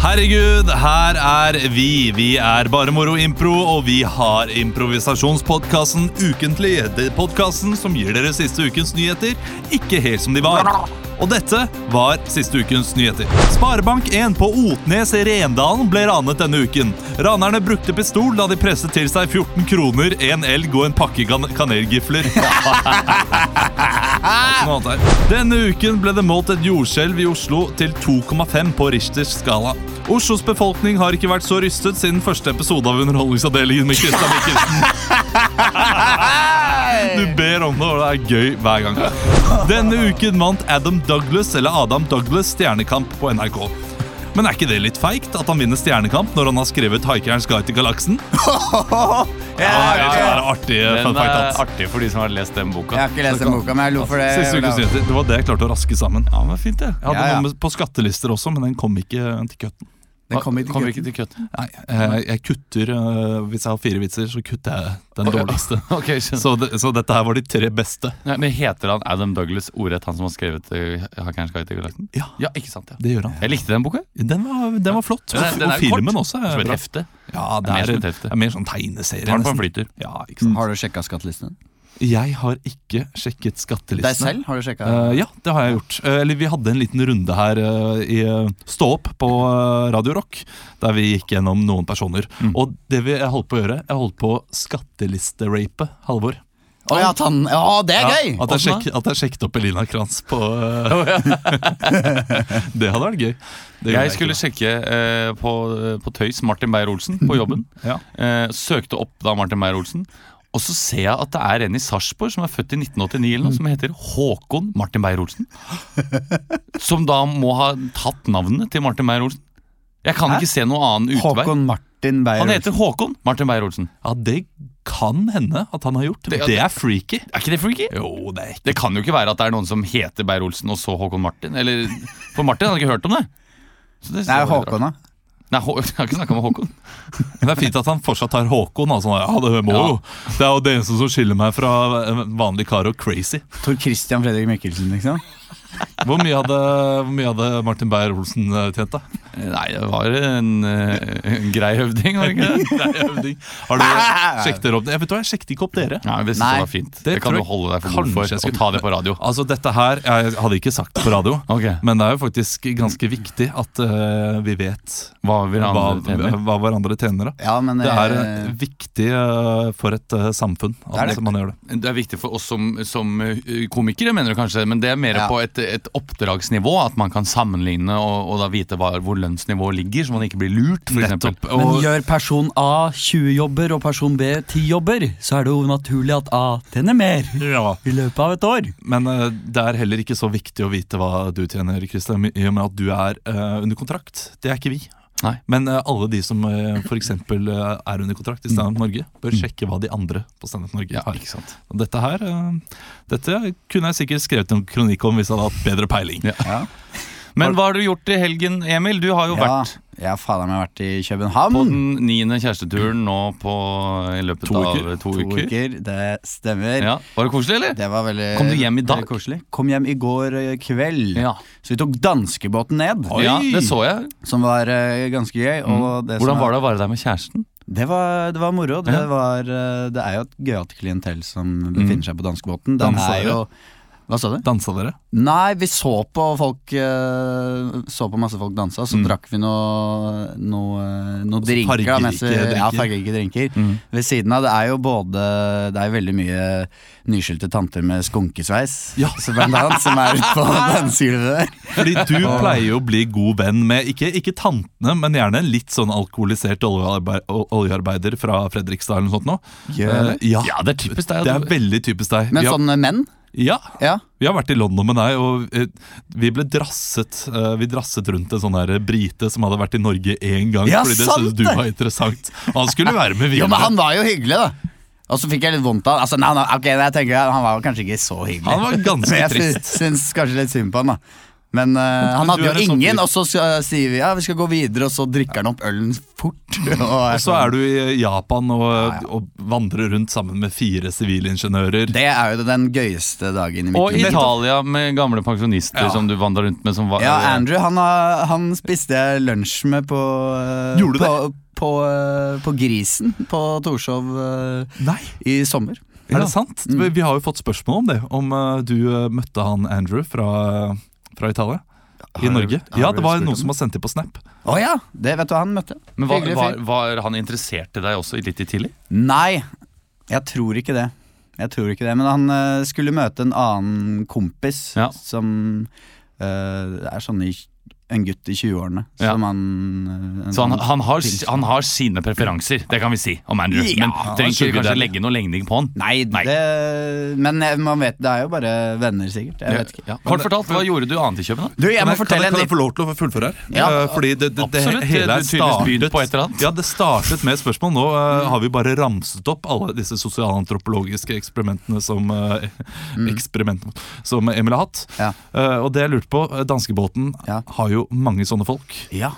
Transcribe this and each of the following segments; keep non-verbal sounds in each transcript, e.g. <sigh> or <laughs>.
Herregud, her er vi. Vi er Bare Moro Impro, og vi har improvisasjonspodkasten Ukentlig. Det er Podkasten som gir dere siste ukens nyheter, ikke helt som de var. Og dette var siste ukens nyheter. Sparebank1 på Otnes i Rendalen ble ranet denne uken. Ranerne brukte pistol da de presset til seg 14 kroner, en elg og en pakke kan kanelgifler. Noe annet her. Denne uken ble det målt et jordskjelv i Oslo til 2,5 på Richters skala. Oslos befolkning har ikke vært så rystet siden første episode av Underholdningsavdelingen med Christian Mikkelsen. Du ber om det, og det er gøy hver gang. Denne uken vant Adam Douglas eller Adam Douglas stjernekamp på NRK. Men er ikke det litt feigt at han vinner Stjernekamp når han har skrevet 'Haikerens guide til galaksen'? Jeg, Ja, har ja, ikke- ja, det er artig Den fun fact, er ass. artig for de som har lest den boka. jeg har ikke lest den boka, men jeg lo for det. Siste ukens Olav. nyheter. Det var det jeg klarte å raske sammen. Ja, men fint det Jeg hadde Ja, ja. noe med på skattelister også, men den kom ikke til køtten. Den kom ikke til til køtten. Nei, eh, jeg kutter eh, Hvis jeg har fire vitser, så kutter jeg den dårligste. <laughs> Ok, skjønner. Så, det, så dette her var de tre beste. Nei, men Heter han Adam Douglas ordrett, han som har skrevet uh, 'Hackerens guide til galaksen'? Ja, Ja, ikke sant? ja det gjør han. Jeg likte den boka. Den var, den var flott. Den er- den er og filmen kort. også. Som Er et bra. hefte. Ja, er det mer er, som et det hefte. er mer sånn tegneserie. Tar den på Mm. en nesten. flytur. Ja, ikke sant? Har du sjekka skattelisten? Jeg har ikke sjekket skattelistene. Deg selv? Har du sjekka? Eh, ja, det har jeg gjort. Eh, eller vi hadde en liten runde her eh, i eh, Stå opp på eh, Radio Rock, der vi gikk gjennom noen personer. Og det vi, jeg holdt på å gjøre, jeg holdt på å skattelisterape Halvor. Å ja, tann. Ja, det er gøy! At jeg, Åssen da? sjekk, at jeg sjekket opp Elina Kranz på eh, <laughs> Det hadde vært gøy. Det gjorde Jeg skulle ikke, sjekke eh, på, på tøys Martin Beyer-Olsen på jobben. <laughs> Ja. Eh, søkte opp da Martin Beyer-Olsen. Og så ser jeg at det er en i Sarpsborg som er født i 1989 eller noe, Mm. som heter Håkon <laughs> Martin Beyer-Olsen. Som da må ha tatt navnet til Martin Beyer-Olsen. Jeg kan ikke se noen annen utvei. Håkon Martin Beyer. Han heter Håkon Martin Beyer-Olsen. da. Ja, det kan hende at han har gjort. Det, Det- det er freaky. Er ikke det freaky? Jo, det er ikke Det kan jo ikke være at det er noen som heter Beyer-Olsen og så Håkon Martin. Eller, for Martin hadde ikke hørt om det. Så det Nei, var litt rart. Håkon, da. Nei, Hå- <laughs> jeg har ikke snakka med Håkon. Men Det er fint at han fortsatt har Håkon. Altså. Ja, det, må Ja. jo. det er jo det eneste som skiller meg fra eh, vanlig kar og crazy. Tor Christian Fredrik Mikkelsen, liksom. Hvor mye hadde, hvor mye hadde Martin Beyer-Olsen eh, tjent, da? <laughs> Nei, det var en, eh, en grei høvding, var det ikke <laughs> det? Nei, jeg vet ikke. <laughs> Har du Ah! sjekket dere opp? Jeg vet hva, jeg sjekket ikke opp dere. Nei, det synes Nei, jeg var fint. Det, det kan tror du jeg holde deg for god kanskje for, jeg og skulle- ta det på radio. Altså, dette her Jeg hadde ikke sagt det på radio, Ok, men det er jo faktisk ganske viktig at eh, vi vet Hva vil han hva, tjene? hva hverandre tjener. Da. Ja, men Det er eh, eh, viktig eh, for et eh, samfunn at Det er det. man gjør det. Det er viktig for oss som, som eh, komikere, mener du kanskje, men det er mer Ja. på et, et oppdragsnivå. At man kan sammenligne og, og da vite hva, hvor lønnsnivået ligger, så man ikke blir lurt, f.eks. Nettopp. Men Og, gjør person A 20 jobber og person B 10 jobber, så er det jo naturlig at A tjener mer ja. i løpet av et år. Men eh, det er heller ikke så viktig å vite hva du tjener, Kristian, i og med at du er eh, under kontrakt. Det er ikke vi. Nei. Men eh, alle de som uh, f.eks. eh, er under kontrakt i Standup Norge, bør sjekke hva de andre på Standup Norge Mm. Ja, har. ikke sant. Og dette her eh, Dette kunne jeg sikkert skrevet en kronikk om hvis jeg hadde hatt bedre peiling. Ja. ja. Men hva har du gjort i helgen, Emil? Du har jo ja, vært jeg har fader meg vært i på København. den niende kjæresteturen nå på, i løpet To av uker. to, To uker. uker, det stemmer. Ja. Var det koselig, eller? Det var veldig Kom du hjem i dag? veldig Koselig. Kom hjem i går eh, kveld. Ja. Så vi tok danskebåten ned, Oi. ja, det så jeg. som var eh, ganske gøy. Og det Mm. Hvordan som var det å være der med kjæresten? Det var, det var moro. Det, Ja. Mm. var, eh, det er jo et gøyalt klientell som befinner seg på danskebåten. Den Dansa er jo Hva sa du? Dansa dere? Nei, vi så på folk eh, Så på masse folk danse, og så Mm. drakk vi noe, noe, eh, noe drinker. da, mens vi- fargerike Ja, drinker. Mm. fargerike drinker. Ved siden av det er jo både Det er veldig mye nyskilte tanter med skunkesveis, Ja. så blant annet, som er ute på <laughs> dansegulvet der. Fordi <laughs> du pleier jo å bli god venn med ikke, ikke tantene, men gjerne en litt sånn alkoholisert oljearbeid, oljearbeider fra Fredrikstad eller noe sånt. Nå. Gjør Eh, ja. Ja, det er typisk deg. Det at er du- sånn- veldig typisk deg. Men Vi har- sånne menn? ja, Ja. Vi har vært i London med deg, og eh, vi ble drasset eh, Vi drasset rundt en sånn der brite som hadde vært i Norge én gang. Ja, fordi det sant syntes du det! var interessant. Og han skulle være med Jo, videre. men han var jo hyggelig, da. Og så fikk jeg litt vondt av altså, nei, nei, ok, jeg tenker, Han var jo kanskje ikke så hyggelig. Han var ganske men jeg trist. syns, syns kanskje litt synd på han, da. Men eh, han du hadde er jo en sånn ingen, fyr. og så skal- sier vi ja, vi skal gå videre, og så drikker han opp ølen fort. <laughs> Og sånn. Og så er du i eh, Japan og, og vandrer rundt sammen med fire sivilingeniører. Det er jo den gøyeste dagen i mitt Og liv. Italia med gamle pensjonister Ja. som du vandra rundt med. Som var, Ja, Andrew han, har- han spiste jeg lunsj med på eh, Gjorde du på, På, eh, på Grisen på Torshov eh, Nei, i sommer. er det sant? Vi vi har jo fått spørsmål om det. Om eh, du eh, møtte han Andrew fra, fra Italia. I du- Norge. har Ja, du det var spurt om noen som har sendt det på Snap. Å ja! Det vet du hva han møtte. Men var, Hyggelig fyr. var, var han interessert i deg også litt i tidlig? Nei, jeg tror ikke det. Jeg tror ikke det, Men han eh, skulle møte en annen kompis Ja. som eh, er sånn i en gutt i 20-årene. Ja. Som han eh, en Så han, sånn- han, har, si- han har sine preferanser, det kan vi si om Andrew. Ja, Men trenger sugar ikke kanskje daddy. legge noe legning på han. Nei, Nei. Det, men eh, man vet, det er jo bare venner, sikkert. Jeg vet ikke. Ja. Kort fortalt, hva gjorde du annet i København? Du, jeg må fortelle kan jeg, en kan jeg få lov til å fullføre her? Ja. Eh, Fordi det, det, det, Absolutt, hele du er tydeligvis byr på et eller annet. startet, ja, det startet med et spørsmål. Nå eh, har vi bare ramset opp alle disse sosialantropologiske eksperimentene som, eh, eksperimentene som Emil har hatt. Mm. Ja. Eh, og det jeg lurte på, eh, danskebåten Ja. har jo mange sånne folk. Ja.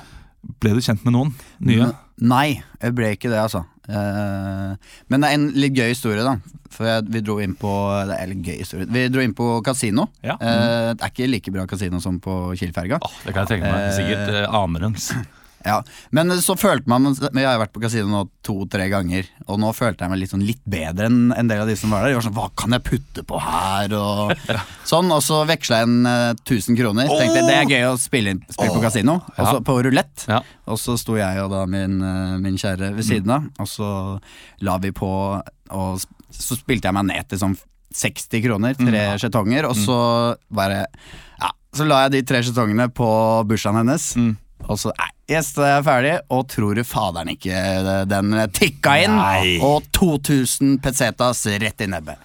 Ble du kjent med noen Mm. nye? Nei, jeg ble ikke det, altså. Eh, men det er en litt gøy historie, da. For jeg, vi dro inn på Det er litt gøy historie Vi dro inn på kasino. Ja. Eh, Mm. det er ikke like bra kasino som på Kielferga. Åh, det kan jeg tenke meg. Sikkert eh, anerens. Ja. Men så følte man Men Jeg har vært på kasino nå to-tre ganger, og nå følte jeg meg litt, sånn litt bedre enn en del av de som var der. Jeg var sånn, Hva kan jeg putte på her? Og sånn, og så veksla jeg inn eh, 1000 kroner. Tenkte jeg, Det er gøy å spille, inn- spille på kasino. Og så på rulett. Ja. Og så sto jeg og da min, eh, min kjære ved siden av, og så la vi på og sp- så spilte jeg meg ned til sånn 60 kroner, tre skjetonger, og så bare Ja, så la jeg de tre skjetongene på bursdagen hennes, og så Nei, yes, da er jeg ferdig, og tror du faderen ikke det- den tikka inn, Nei. og 2000 pesetas rett i nebbet.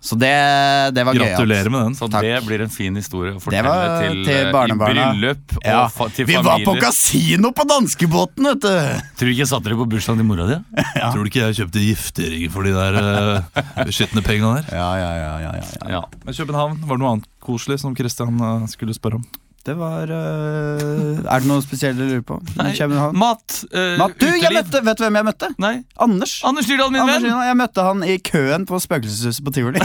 Så det, det var gøy. Gratulerer med den. Så Takk. det blir en fin historie å Det fortelle var til, til eh, barnebarna. i bryllup og Ja. fa til Vi var på familier. kasino på danskebåten, vet du! Tror du ikke jeg satte dere på bursdagen til mora di? Tror du ikke jeg kjøpte giftering for de der <laughs> uh, skitne pengene der? Ja, ja, ja, ja, ja. Ja. Men København, var det noe annet koselig som Christian eh, skulle spørre om? Det var øh, Er det noe spesielt dere lurer på? Nei, København? Mat, eh, Matt, du, jeg uteliv. møtte, vet du hvem jeg møtte? Nei. Anders. Anders Nyrdal, min Anders, venn. Jonas, jeg møtte han i køen på Spøkelseshuset på <laughs> Tivoli.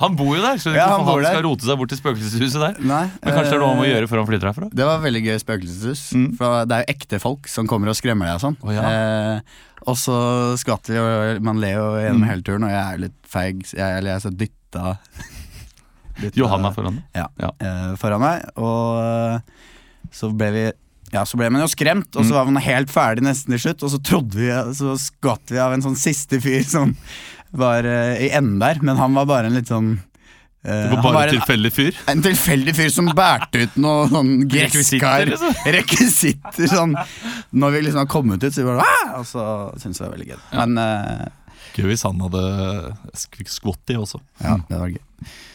Han bor jo der, så Ja, ikke han han, bor der. skal rote seg bort til spøkelseshuset der. Nei, Men kanskje det er noe han må øh, gjøre før han flytter herfra? Det var veldig gøy spøkelseshus. For det er jo ekte folk som kommer og skremmer deg og sånn. ja. eh, og så skvatt vi, og man ler jo Mm. gjennom hele turen, og jeg er jo litt feig. så Jeg, eller jeg er så dytta, dytta Johanna foran deg. ja, Ja. eh, foran meg. Og eh, så ble vi ja, så ble man jo skremt, og Mm. så var man helt ferdig nesten til slutt. Og så trodde vi, så skvatt vi av en sånn siste fyr som var eh, i enden der, men han var bare en litt sånn eh, Det var han bare var en en, tilfeldig fyr. en tilfeldig fyr som bærte ut noe sånn Rekvisitter, gresskar. liksom. Rekvisitter, sånn. Når vi liksom har kommet ut, så vi bare «Ah!» Og så syntes jeg det var veldig gøy. Men eh, Gøy hvis han hadde sk- skvott i også. ja, det var gøy.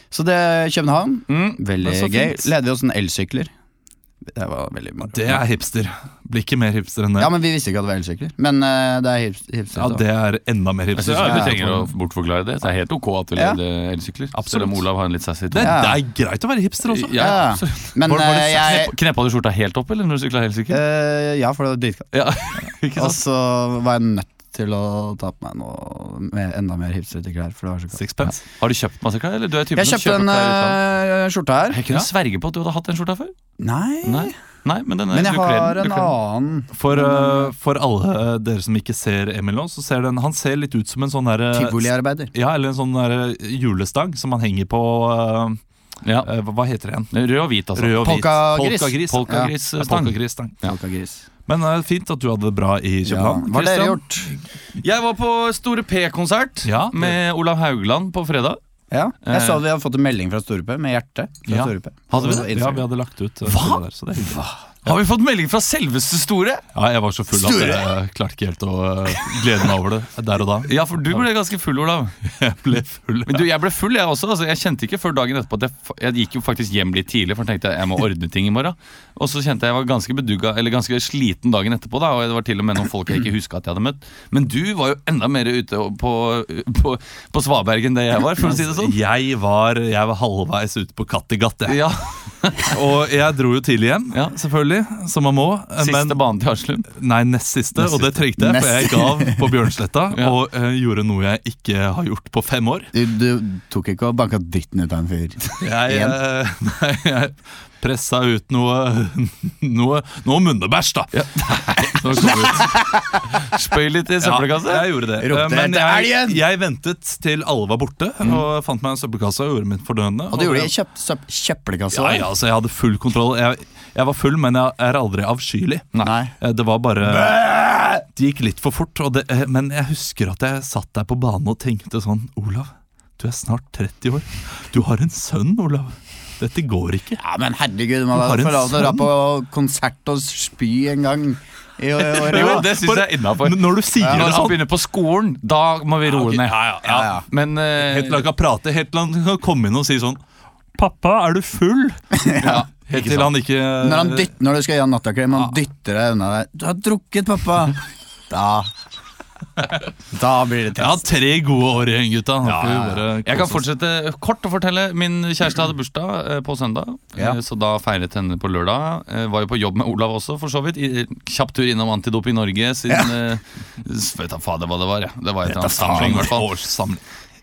Så det er København. Mm. Veldig Men så gøy. fint. Leder vi oss en elsykler. Det var veldig moro. Det er hipster. Blir ikke mer hipster enn det. Ja, men vi visste ikke at det var elsykler. Men eh, det er hips hipster. Ja, da. det er enda mer Jeg hipster. synes Ja, ikke ja. du trenger å bortforklare det. Det er helt ok at vi Ja. leder elsykler. Absolutt. Selv om Olav har en litt sassy Det, tone. det er greit å være hipster også. Ja, Ja, <laughs> absolutt. Men Var- var det eh, jeg Knepp- Kneppa du skjorta helt opp, eller når du sykla elsykkel? eh, Ja, for det var dritkaldt. Ja, ikke Og sant? så var jeg nødt til å ta på meg noe med enda mer hipstrete klær, for det var så kaldt. Sixpence. Har du kjøpt masse klær? Eller du er typen Jeg som kjøpte kjøper en klær utenlands? eh, skjorte her. Jeg kunne sverge på at du hadde hatt den skjorta før. Nei. Nei, Nei men den er Men jeg du kler har den, en du kler den. annen. For, eh, for alle eh, dere som ikke ser Emil nå, så ser den, han ser litt ut som en sånn derre Tivoliarbeider. Ja, eller en sånn der julestang som han henger på Ja. eh, eh, Hva heter det igjen? Rød og hvit, altså. Rød og hvit. Polkagris. Polkagris. Ja, Polkagrisstang. polkagrisstang. Ja. Polkagris. Men eh, fint at du hadde det bra i Ja. København. Hva har dere Christian? gjort? Jeg var på Store P-konsert Ja. med Olav Haugland på fredag. Ja. Jeg så Eh. at vi hadde fått en melding fra Store P, med hjerte. fra Ja. Store P. Hadde vi På det? Ja, Instagram. vi hadde lagt ut eh, Hva? det der, så det er hyggelig. Har vi fått melding fra selveste Store? Ja, jeg var så full at jeg klarte ikke helt å eh, glede meg over det der og da. Ja, for du ble ganske full, Olav. <laughs> Jeg ble full. Men du, jeg ble full, jeg også. Altså, jeg kjente ikke før dagen etterpå at jeg, fa- jeg gikk jo faktisk hjem litt tidlig, for jeg tenkte jeg må ordne ting i morgen. Og så kjente jeg jeg var ganske bedugga, eller ganske sliten dagen etterpå, da, og det var til og med noen folk jeg ikke huska at jeg hadde møtt. Men du var jo enda mer ute og på, på, på Svaberg enn det jeg var, for å si det <laughs> sånn. Jeg var, jeg var halvveis ute på Kattegat, jeg. Ja, Og jeg dro jo tidlig hjem, Ja. selvfølgelig, som man må. eh, Siste Men, banen til Haslum. nei, nest siste, og det trengte jeg, for jeg gav på Bjørnsletta Ja. og eh, gjorde noe jeg ikke har gjort på fem år. Du, du tok ikke og banka dritten ut av en fyr. Jeg, eh, <laughs> nei, jeg pressa ut noe Noe, noe munnebæsj, da. Som kom ut. Spøy litt i søppelkassa. Ja, jeg gjorde det. Ropte Eh, Men etter jeg, elgen! jeg ventet til alle var borte, og fant meg en søppelkasse og gjorde mitt fordøyende. <laughs> Og du gjorde det i kjøp, søpp- kjøppelkassa. Ja, ja, altså, jeg hadde full kontroll. Jeg, jeg var full, men jeg er aldri avskyelig. Nei. Eh, Det var bare Det gikk litt for fort. Og det, eh, men jeg husker at jeg satt der på banen og tenkte sånn Olav, du er snart 30 år. Du har en sønn, Olav. Dette går ikke. Ja, men herregud, man Du har hadde en fått lov til å dra sønn. på konsert og spy en gang i <laughs> året. Jo, også. det syns jeg er innafor. N- Når du sier det Når han sånn begynner på skolen, da må vi roe Ok, ned. Ja, ja, ja. Ja, ja. Men eh, Helt til han kan prate, helt til han kan komme inn og si sånn Pappa, er du full? ja, Helt ikke til sant. han ikke Når, han dytter, når du skal gi han nattaklem, han dytter deg unna deg. 'Du har drukket, pappa!' Da Da blir det Ja, trist. tre gode år igjen, gutta. Nå får vi ja, ja. bare Jeg kan kose oss. fortsette eh, kort å fortelle. Min kjæreste hadde bursdag eh, på søndag, Ja. eh, så da feiret henne på lørdag. Eh, Var jo på jobb med Olav også, for så vidt. I- Kjapp tur innom Antidop i Norge sin eh, s- Vet da fader hva det var, jeg. Det var et eller annet samling, i hvert fall. Årssamling.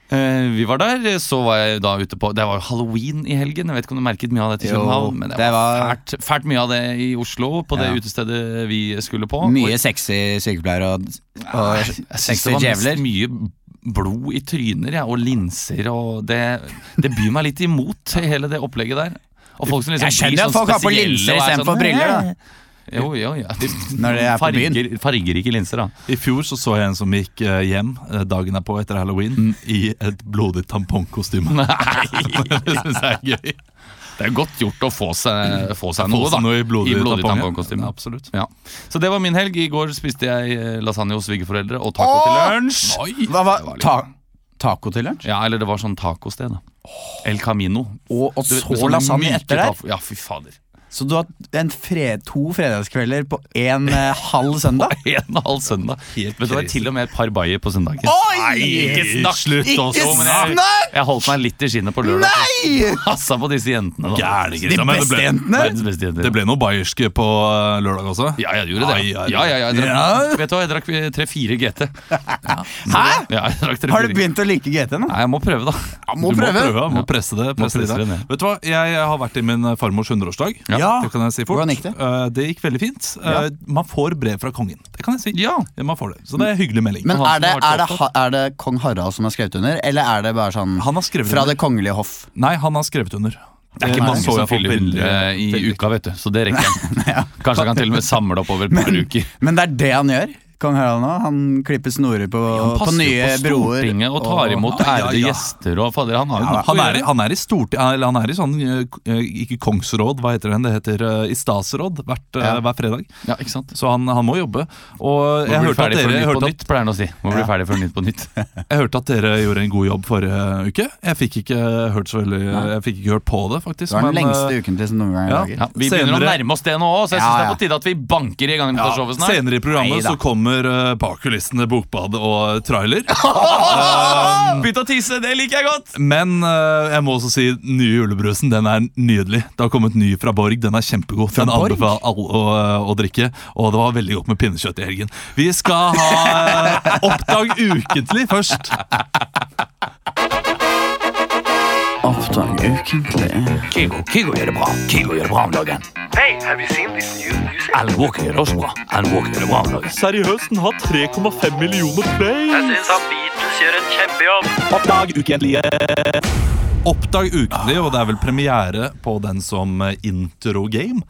Eh, Vi var der, så var jeg da ute på Det var jo halloween i helgen. Jeg vet ikke om du merket mye av det til Jo, København, men det var, det var- fælt, fælt mye av det i Oslo, på det Ja. utestedet vi skulle på. Mye sexy sykepleiere og, og Jeg syns det sexy var mest djevler. mye blod i tryner ja, og linser og det, det byr meg litt imot, hele det opplegget der. Og folk som liksom Jeg skjønner blir at sånn folk har på spesielle linser og er istedenfor sånn, briller, da. Jo, jo, ja. Når de er på byen. farger, fargerike linser, <laughs> da. I fjor så, så jeg en som gikk eh, hjem eh, dagen derpå etter halloween Mm. i et blodig tampongkostyme. Nei! <laughs> det syns jeg er gøy. Det er godt gjort å få seg, få seg Få noe, da. seg noe i blodig tampong, ja. tampongkostyme. Ja, absolutt. Ja. Så det var min helg. I går spiste jeg eh, lasagne hos svigerforeldre og taco til lunsj. Hva var ta, Taco til lunsj? Ja, eller det var sånn tacosted, da. El Camino. Og, og Du vet, sånn med så sånne lasagne myke etter der? taco- Ja, fy fader. Så du har en fre, to fredagskvelder på en eh, <laughs> halv søndag? En og halv søndag. Helt Men det var crazy. til og med et par bayer på søndagen. Oi! Ikke snakk! Slutt Ikke også, men jeg, snakk! jeg holdt meg litt i skinnet på lørdag. Nei! <laughs> Passa på disse jentene. da. Gærne De greier. Men det beste ble, jentene? Verdens beste jenter. det ble noe bayerske på eh, lørdag også. Ja, jeg gjorde det. Ai, Ja, ai, ja, ja, jeg drakk, Ja. Vet du hva, jeg drakk eh, tre-fire GT. Hæ? Ja, jeg drakk 3-4. Har du begynt å like GT nå? Nei, jeg må prøve, da. Ja, må du må prøve. prøve, må presse det. Presse presse det det der. ned. Vet du hva, jeg har vært i min eh, farmors 100-årsdag. Ja. Ja. Det kan jeg si fort. Hvordan gikk det? Eh, det gikk veldig fint. Eh, Man får brev fra kongen. Det kan jeg si. Ja. Man får det. Så det er en hyggelig melding. Men Og han er det, som har er, det, vært ha- er det kong Harald som har skrevet under, eller er det bare sånn han har skrevet fra under. det kongelige hoff? Nei, han har skrevet under. Eh, Det er ikke mange som fyller 100 i uka, vet du, så det rekker jeg. Kanskje jeg kan til og med samle opp over et par uker. Men det er det han gjør, kong Harald nå. Han klipper snorer på, på Passer jo nye på broer. Stortinget og tar imot Ja, ja, ærede ja. gjester og fader, han har jo nok å Han er, gjøre. han er i stort, eller han er i sånn eh, Ikke kongsråd, hva heter det? Det heter eh, i statsråd hvert, eh, Ja. hver fredag. Ja, ikke sant? Så han, han må jobbe. Og jeg Må bli hørte, at ferdig før dere, jeg, Nytt på hørte at, Nytt, pleier han å si. Må bli ferdig før Nytt på Nytt. jeg hørte at dere gjorde en god jobb forrige uke. Jeg fikk ikke hørt så veldig Jeg fikk ikke hørt på det, Det faktisk. var den men, eh, lengste ukentlige som noen gang <laughs> ja, i Ja, dag. vi begynner å Senere- nærme oss det nå òg, så jeg Ja, syns det er ja. på tide at vi banker i gang med ja, showet snart. senere i programmet Neida. så kommer eh, bak kulissene Bokbad og trailer. Begynte å tisse, det liker jeg godt! Men eh, jeg må også si nye julebrusen den er nydelig. Det har kommet ny fra Borg. Den er kjempegod. den Borg? anbefaler alle å, eh, å drikke. Og det var veldig godt med pinnekjøtt i helgen. Vi skal ha eh, Oppdag ukentlig først. Oppdag ukentlig. Kigo, Kigo gjør det bra. Kigo gjør det bra om dagen. Hey, have you seen this new music? Alan Walker gjør det også bra. Alan Walker gjør det bra om dagen. Seriøst, den har 3,5 millioner play. Jeg syns han Beatles gjør en kjempejobb. Oppdag ukentlig, og det er vel premiere på den som eh, intro game.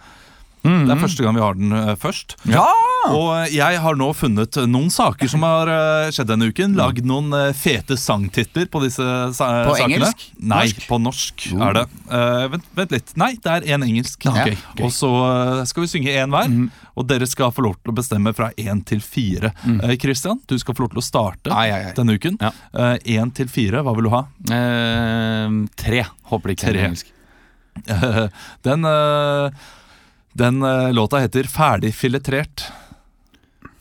Det er første gang vi har den eh, først. Mhm. Ja! Og jeg har nå funnet noen saker som har eh, skjedd denne uken. Lagd noen eh, fete sangtitler på disse sa På sakene. engelsk? Nei, Norsk? på norsk er det. Eh, vent, vent litt. Nei, det er én engelsk. ok, Mhm. Ja. Og så eh, skal vi synge én hver. Og dere skal få lov til å bestemme fra én til fire. Mhm. Eh, Christian, du skal få lov til å starte Ai, ai, ai. denne uken. Ja. Eh, Én til fire, hva vil du ha? Eh, tre. Håper det ikke er Tre. engelsk. <laughs> Den, eh, den eh, låta heter Ferdig filetrert.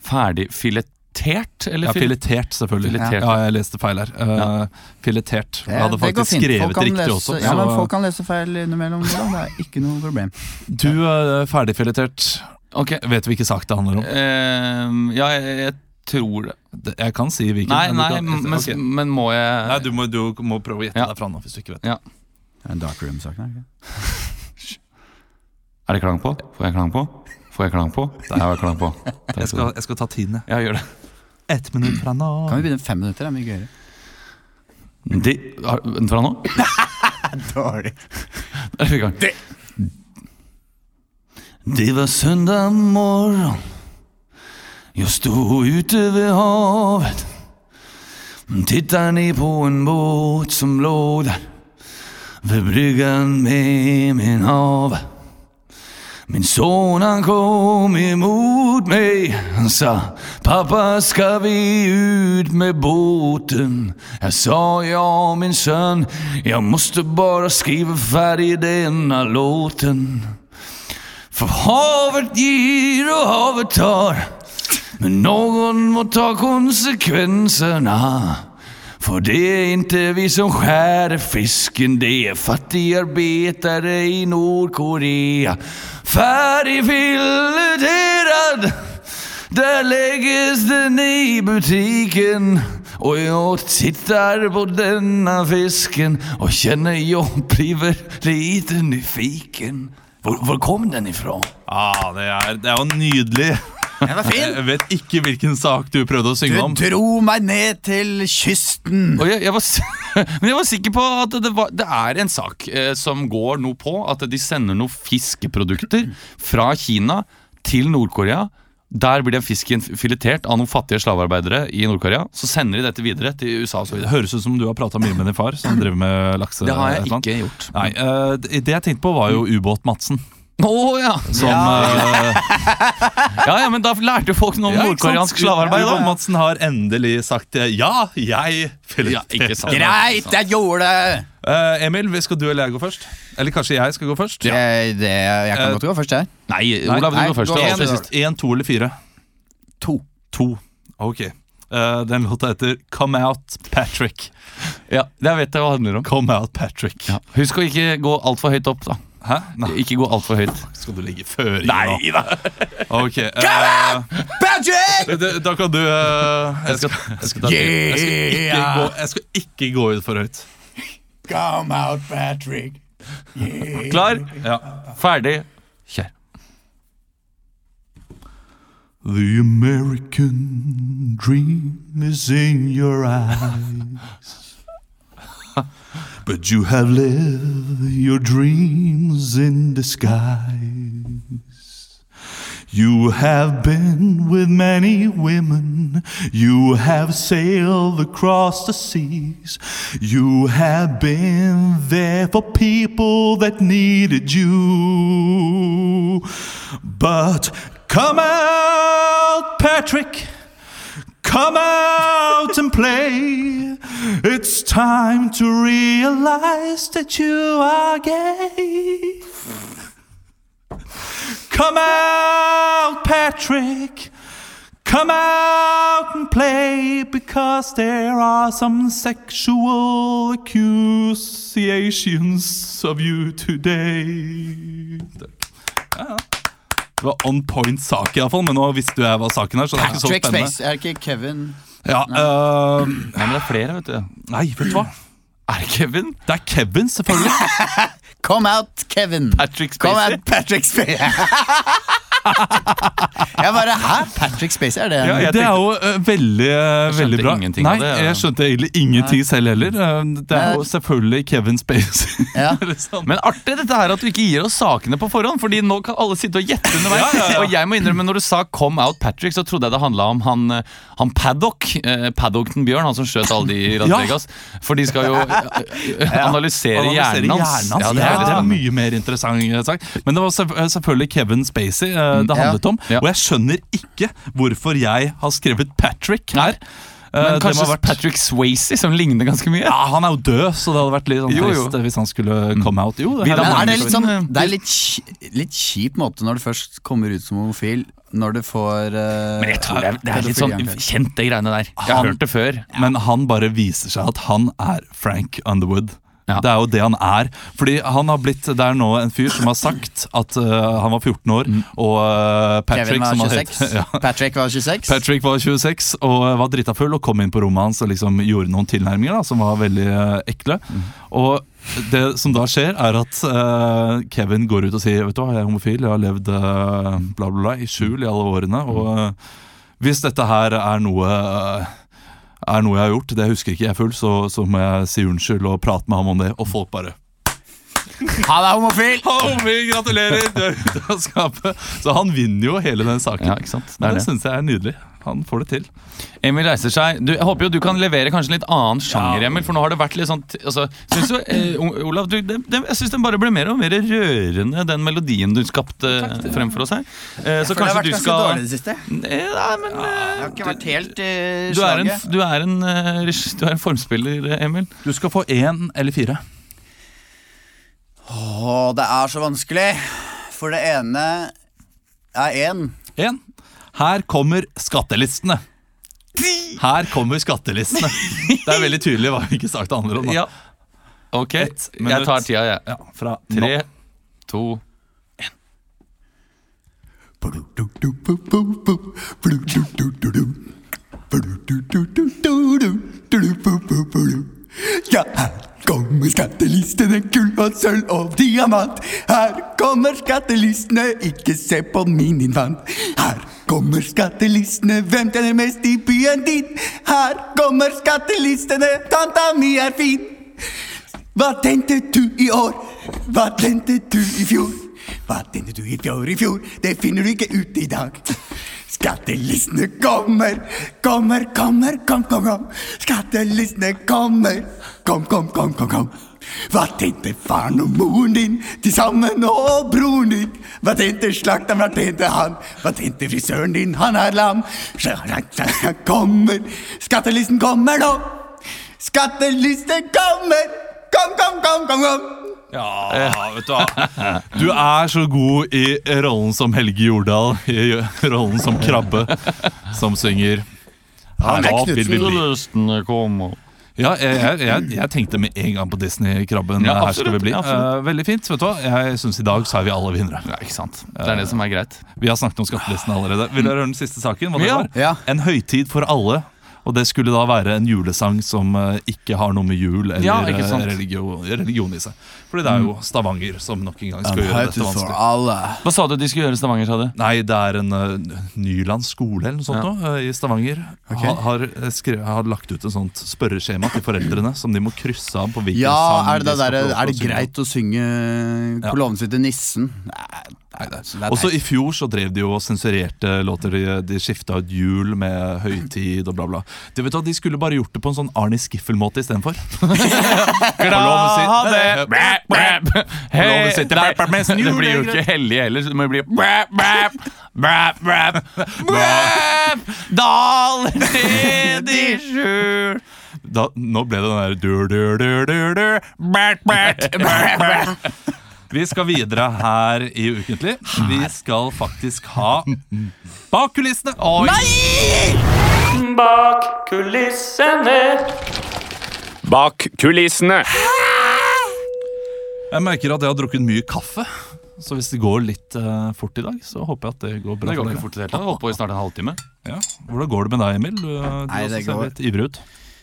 Ferdig filetert? Eller Ja, fil- filetert, selvfølgelig. Filetert. Ja, jeg leste feil her. Eh, Filetert. Jeg hadde Det går faktisk fint. Folk skrevet kan riktig lese, også. Ja, så- men Folk kan lese feil innimellom. Da. Det er ikke noe problem. Du er ferdigfiletert. Ok. Vet hvilken sak det handler om? Eh, ja, jeg, jeg tror det. Det- Jeg kan si hvilken. Nei, nei, men du kan- men, Ok. men må jeg Nei, du, må, du må prøve å gjette Ja. deg fra nå, hvis du ikke vet. ja. Det er en dark room-sak der. ikke? Er det klang på? Får jeg klang på? Får jeg klang på? Der har jeg klang på. <laughs> Jeg Takk skal du skal, ha. jeg skal ta tiden, jeg. Ja, gjør det. Ett minutt fra Kan nå. vi begynne fem minutter? Det er mye gøyere. De, har, vent fra nå. Dårlig. Der er vi i gang. Det. var søndag morgen. Jeg sto ute ved havet. Titta ned på en båt som lå der. Ved bryggan med min hav. Min son han kom imot meg. Han sa 'Pappa, skal vi ut med båten?' Jeg sa 'Ja, min sønn, jeg måste bara skriva ferdig denna låten'. For havet gir og havet tar, men noen må ta konsekvenserna. For det är inte vi som skär fisken, det är fattigarbetare i Nordkorea. Färdigfileterad, där läggs den i butiken. Och jag tittar på denna fisken och känner jag blir lite nyfiken. Var, var kom den ifrån? Ah, det, er, det er jo nydelig. Den var fin! Jeg vet ikke hvilken sak du prøvde å synge om. Du dro meg ned til kysten! Og jeg, jeg var, s- <laughs> men jeg var sikker på at det, var, det er en sak eh, som går noe på at de sender noen fiskeprodukter fra Kina til Nord-Korea. Der blir den fisken filetert av noen fattige slavearbeidere i Nord-Korea. Så sender de dette videre til USA og så Det videre. høres ut som du har prata mye med din far, som driver med lakse... Det et har jeg eller annet. ikke gjort. Nei, eh, det det jeg tenkte på, var jo Ubåt-Madsen. Å ja. Som eh, ja! Ja, men da lærte jo folk noe om Ja, ikke sant? nordkoreansk slavearbeid. Ubåt da. Madsen har endelig sagt eh, ja, jeg Ja, ikke <laughs> sant. Greit, jeg gjorde det! Eh, Emil, vi skal du eller jeg gå først? Eller kanskje jeg skal gå først? Jeg, Eh, det, jeg Eh, kan godt gå først, jeg. Nei, Olav, nei, du går først. gå Det er an. alltid En, sist. en, to eller fire? To. To. Ok. Eh, den låta heter Come Out Patrick. Ja, det vet jeg hva det handler om. Come Out Patrick. Husk å ikke gå altfor høyt opp, da. Hæ? Nei, Ikke gå altfor høyt. skal du legge føringer nå? Nei da! Ok. eh, da, da kan du eh, jeg, skal, jeg, skal ta, jeg, skal ikke Yeah. gå, jeg skal ikke gå ut for høyt. Come out, Patrick. Klar, Ja. ferdig, kjør. The American dream is in your eyes. <laughs> but you have lived your dreams in disguise. You have been with many women. You have sailed across the seas. You have been there for people that needed you. But come out, Patrick. Come out and play. It's time to realize that you are gay. Come out, Patrick. Come out and play because there are some sexual accusations of you today. Det var on point sak, iallfall, men nå visste jo jeg hva saken er. så det er ikke så Patrick spennende. Space, er ikke Kevin Ja, øh, Nei, men det er flere, vet du. nei, vet du hva? Er det Kevin? Det er Kevin, selvfølgelig. Come out, Kevin! Patrick Come Spacey? out, Patrick Space! <laughs> Jeg bare, Hæ? Patrick Spacey, er det en Ja, jeg Det er jo eh, veldig, eh, Jeg skjønte veldig bra. ingenting Nei, av det, ja. jeg skjønte egentlig ingenting selv heller. Eh, Det er jo selvfølgelig Kevin Spacey. <laughs> Ja. Men artig dette her at du ikke gir oss sakene på forhånd, Fordi nå kan alle sitte og gjette underveis. Og jeg må innrømme, når du sa 'Come Out Patrick', så trodde jeg det handla om han, eh, han Paddock. Eh, Paddockton Bjørn, han som skjøt alle de i Las Ja. Vegas. For de skal jo eh, eh, analysere Analysere hjernen hans. Ja, det, er, veldig det er spennende. mye mer interessant eh, sak. Men det var selv- eh, selvfølgelig Kevin Spacey eh, det handlet om. Mm, Ja. Og jeg skjønner ikke hvorfor jeg har skrevet Patrick her. Eh, Men det må kanskje ha vært- Patrick Swayze, som ligner ganske mye. ja, Han er jo død, så det hadde vært litt sånn Jo, jo. Mm. trist eh, hvis han skulle come out. Jo, det Vi her da er Men er mange det litt som- sånn Det er litt, kj- litt kjip måte når du først kommer ut som homofil, når du får eh, Men jeg tror det er, det er litt sånn pedofili. kjent, de greiene der. Jeg har Han- hørt det før. Men han bare viser seg at han er Frank Underwood. Ja. Det er jo det han er. Fordi han har blitt, Det er nå en fyr som har sagt at øh, han var 14 år, og øh, Patrick Mm. Kevin var som han 26. het- <laughs> ja. Patrick var 26. Patrick var 26 og øh, var drita full og kom inn på rommet hans og liksom gjorde noen tilnærminger da, som var veldig øh, ekle. Mm. Og det som da skjer, er at øh, Kevin går ut og sier Vet du hva, jeg er homofil, jeg har levd øh, bla, bla, bla i skjul i alle årene. Og Mm. øh, hvis dette her er noe øh, er noe jeg har gjort. Det husker ikke jeg er full, så, så må jeg si unnskyld og prate med ham om det. Og folk bare Han er homofil! Homie, gratulerer! Du er ute av skapet. Så han vinner jo hele den saken. Ja, ikke sant? Det Men er det det. syns jeg er nydelig. Han får det til. Emil reiser seg. Du, jeg håper jo du kan levere kanskje en litt annen sjanger, Emil. For nå har det vært litt sånn t- altså, synes du, eh, O- Olav, du, det, det, jeg syns den bare ble mer og mer rørende, den melodien du skapte eh, fremfor oss her. Eh, så kanskje du skal det siste. Jeg Nei, nei, men, eh, har ikke vært helt eh, i du, er en, f- du, er en, eh, regi- du er en formspiller, eh, Emil. Du skal få én eller fire. Å, det er så vanskelig. For det ene er én. Én. Her kommer skattelistene. Her kommer skattelistene. Det er veldig tydelig hva vi ikke sagt det handler om. Da. Ja. Ok, Ett jeg tar minutt. tida, jeg. Ja, fra Tre, nå. to Ja, her kommer skattelistene, gull og sølv og diamant. Her kommer skattelistene, ikke se på min infant. Her kommer skattelistene, hvem tjener mest i byen din? Her kommer skattelistene, tanta mi er fin. Hva tente du i år? Hva tente du i fjor? Hva tente du i fjor i fjor? Det finner du ikke ut i dag. Skattelistene kommer, kommer, kommer, kom, kom, kom. Skattelistene kommer, kom, kom, kom, kom, kom. Hva tjente faren og moren din til sammen, og broren din? Hva tjente slakteren, hva tjente han? Hva tjente frisøren din, han er lam? Kommer, skattelisten kommer nå. Skattelisten kommer! Kom, kom, kom, kom! kom. Ja, vet du hva. Du er så god i rollen som Helge Jordal, i rollen som krabbe, som synger Han er Her opp vil vi bli. altså. Lystene kommer. Ja, jeg, jeg, jeg, jeg tenkte med en gang på Disney-krabben. Ja, her skal absolutt, vi bli. ja, absolutt. Eh, veldig fint. vet du hva? Jeg syns i dag så er vi alle vinnere. Ja, ikke sant. Det er det som er greit. Vi har snakket om skattelisten allerede. Vil dere høre den siste saken? Hva det Ja. var? Ja. En høytid for alle. Og det skulle da være en julesang som eh, ikke har noe med jul eller Ja, ikke sant. Mm. eh, religion, religion i seg. Fordi det er jo Stavanger som nok en gang skal gjøre dette vanskelig. alle. Hva sa du de skulle gjøre i Stavanger? sa du? Nei, det er en uh, Nyland skole eller noe sånt nå, eh, i Stavanger. Ha, har, eh, skre- har lagt ut en sånt spørreskjema til foreldrene som de må krysse av på hvilken Ja, sang er det, de det, skal der, få lov er det til å synge. greit å synge kolonnen sin til nissen? Nei, nei, det er Også i fjor så drev de jo og sensurerte låter. De, de skifta ut jul med høytid og bla, bla. De, vet du, hva, de skulle bare gjort det på en sånn Arnie <laughs> Skiffel-måte istedenfor. Glade bæ, bæ, bæ. Hei, Loven sitter nei, bæ, bæ, mens Det blir jo julegre- ikke hellig heller. så Det må jo bli bæ, bæ, bæ, bæ, bæ. Daler ned i skjul Da, nå ble det den der dur, dur, dur, dur, dur. Bæ, bæ, bæ, bæ. Vi skal videre her i Ukentlig. Vi skal faktisk ha Bak kulissene! Bak kulissene. Bak kulissene. Jeg merker at jeg har drukket mye kaffe. Så hvis det går litt eh, fort i dag, så håper jeg at det går bra. Det går for ikke dere. fort i det hele tatt. Holdt på i snart en halvtime. Ja. Hvordan går det med deg, Emil? Du, du Nei, det også ser går- litt ivrig ut.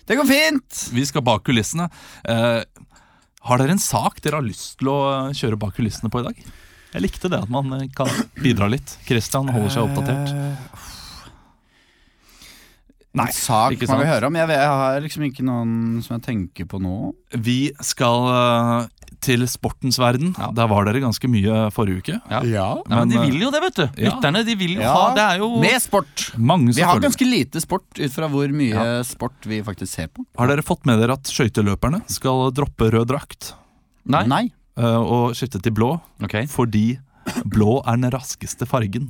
Det går fint! Vi skal bak kulissene. Eh, har dere en sak dere har lyst til å eh, kjøre bak kulissene på i dag? Jeg likte det at man eh, kan bidra litt. Christian holder seg oppdatert. Nei, en sak ikke man vil sant. høre om. Jeg, vet- jeg har liksom ikke noen som jeg tenker på nå. Vi skal eh, til sportens verden. Der var dere ganske mye forrige uke. Ja. Nei, Men, men de eh, vil jo det, vet du. ja. Lytterne de vil jo Ja. ha Det er jo Med sport! Mange Vi har selvfølgelig. ganske lite sport ut fra hvor mye sport vi faktisk ser på. Har dere fått med dere at skøyteløperne skal droppe rød drakt Nei? Nei. eh, og skifte til blå? Ok. Fordi blå er den raskeste fargen.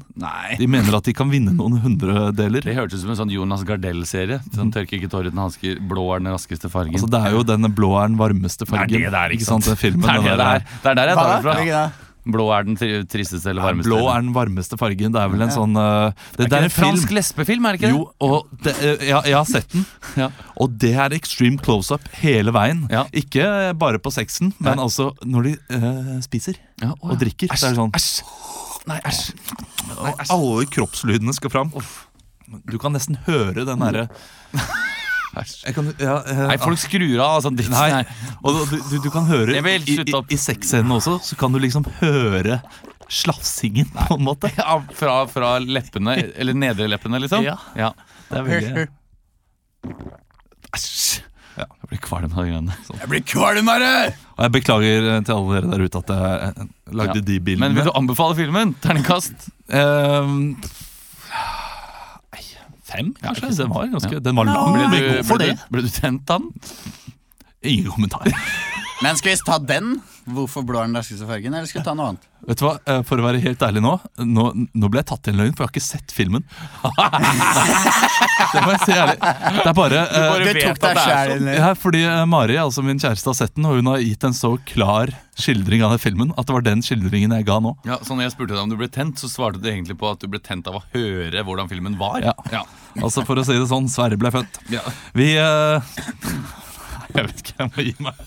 De mener at de kan vinne noen hundredeler. Det hørtes ut som en sånn Jonas Gardell-serie. Sånn Tørker ikke tårer uten hansker, blå er den raskeste fargen. Altså, det er jo den blå er den varmeste fargen. det det er, ikke sant? Den filmen, <laughs> det den er det det der- er. Det er der jeg tar det fra. Ja. Blå er den tri- tristeste eller varmeste. eh, Blå er den varmeste fargen. Det er vel en sånn eh, det, det er en film. lesbefilm, er det Jo, og det, eh, jeg, jeg har sett den, Ja. og det er extreme close-up hele veien. Ja. Ikke bare på sexen, men Nei. altså når de eh, spiser Ja, og å, ja. drikker. så er det sånn Æsj! Nei, æsj. Og alle kroppslydene skal fram. Du kan nesten høre den derre <laughs> Æsj. Jeg kan- ja, eh, Nei, folk skrur av sånn dritt. Nei. Nei. Og du, du, du kan høre Emil, I, slutt i, opp. i sexscenen også, så kan du liksom høre slafsingen, på en måte. Ja, fra, fra leppene, eller nedre leppene, liksom? Ja. Det er veldig Jeg Æsj. Jeg blir kvalm av de greiene. blir kvalmere! Og jeg beklager eh, til alle dere der ute at jeg eh, lagde Ja. de Men bildene. vil du anbefale filmen? Terningkast? Ehm, Fem, jeg kanskje? synes den var ganske Den var lang, Ble men du, god for ble det. du, ble du tent av den? Ingen kommentar. <laughs> Men skal vi ta den? Hvorfor blå er den raskeste fargen? Eller skal vi ta noe annet? Vet du hva, eh, For å være helt ærlig nå, nå, nå ble jeg tatt i en løgn, for jeg har ikke sett filmen. <laughs> det må jeg si ærlig. Det er bare, eh, bare vet at det er selv, eller? Ja, fordi eh, Mari, altså min kjæreste, har sett den, og hun har gitt en så klar skildring av den filmen at det var den skildringen jeg ga nå. Ja, så når jeg spurte deg om du ble tent, så svarte du egentlig på at du ble tent av å høre hvordan filmen var. Ja. ja. Altså For å si det sånn, Sverre ble født. Ja. Vi eh, Jeg vet ikke, jeg må gi meg.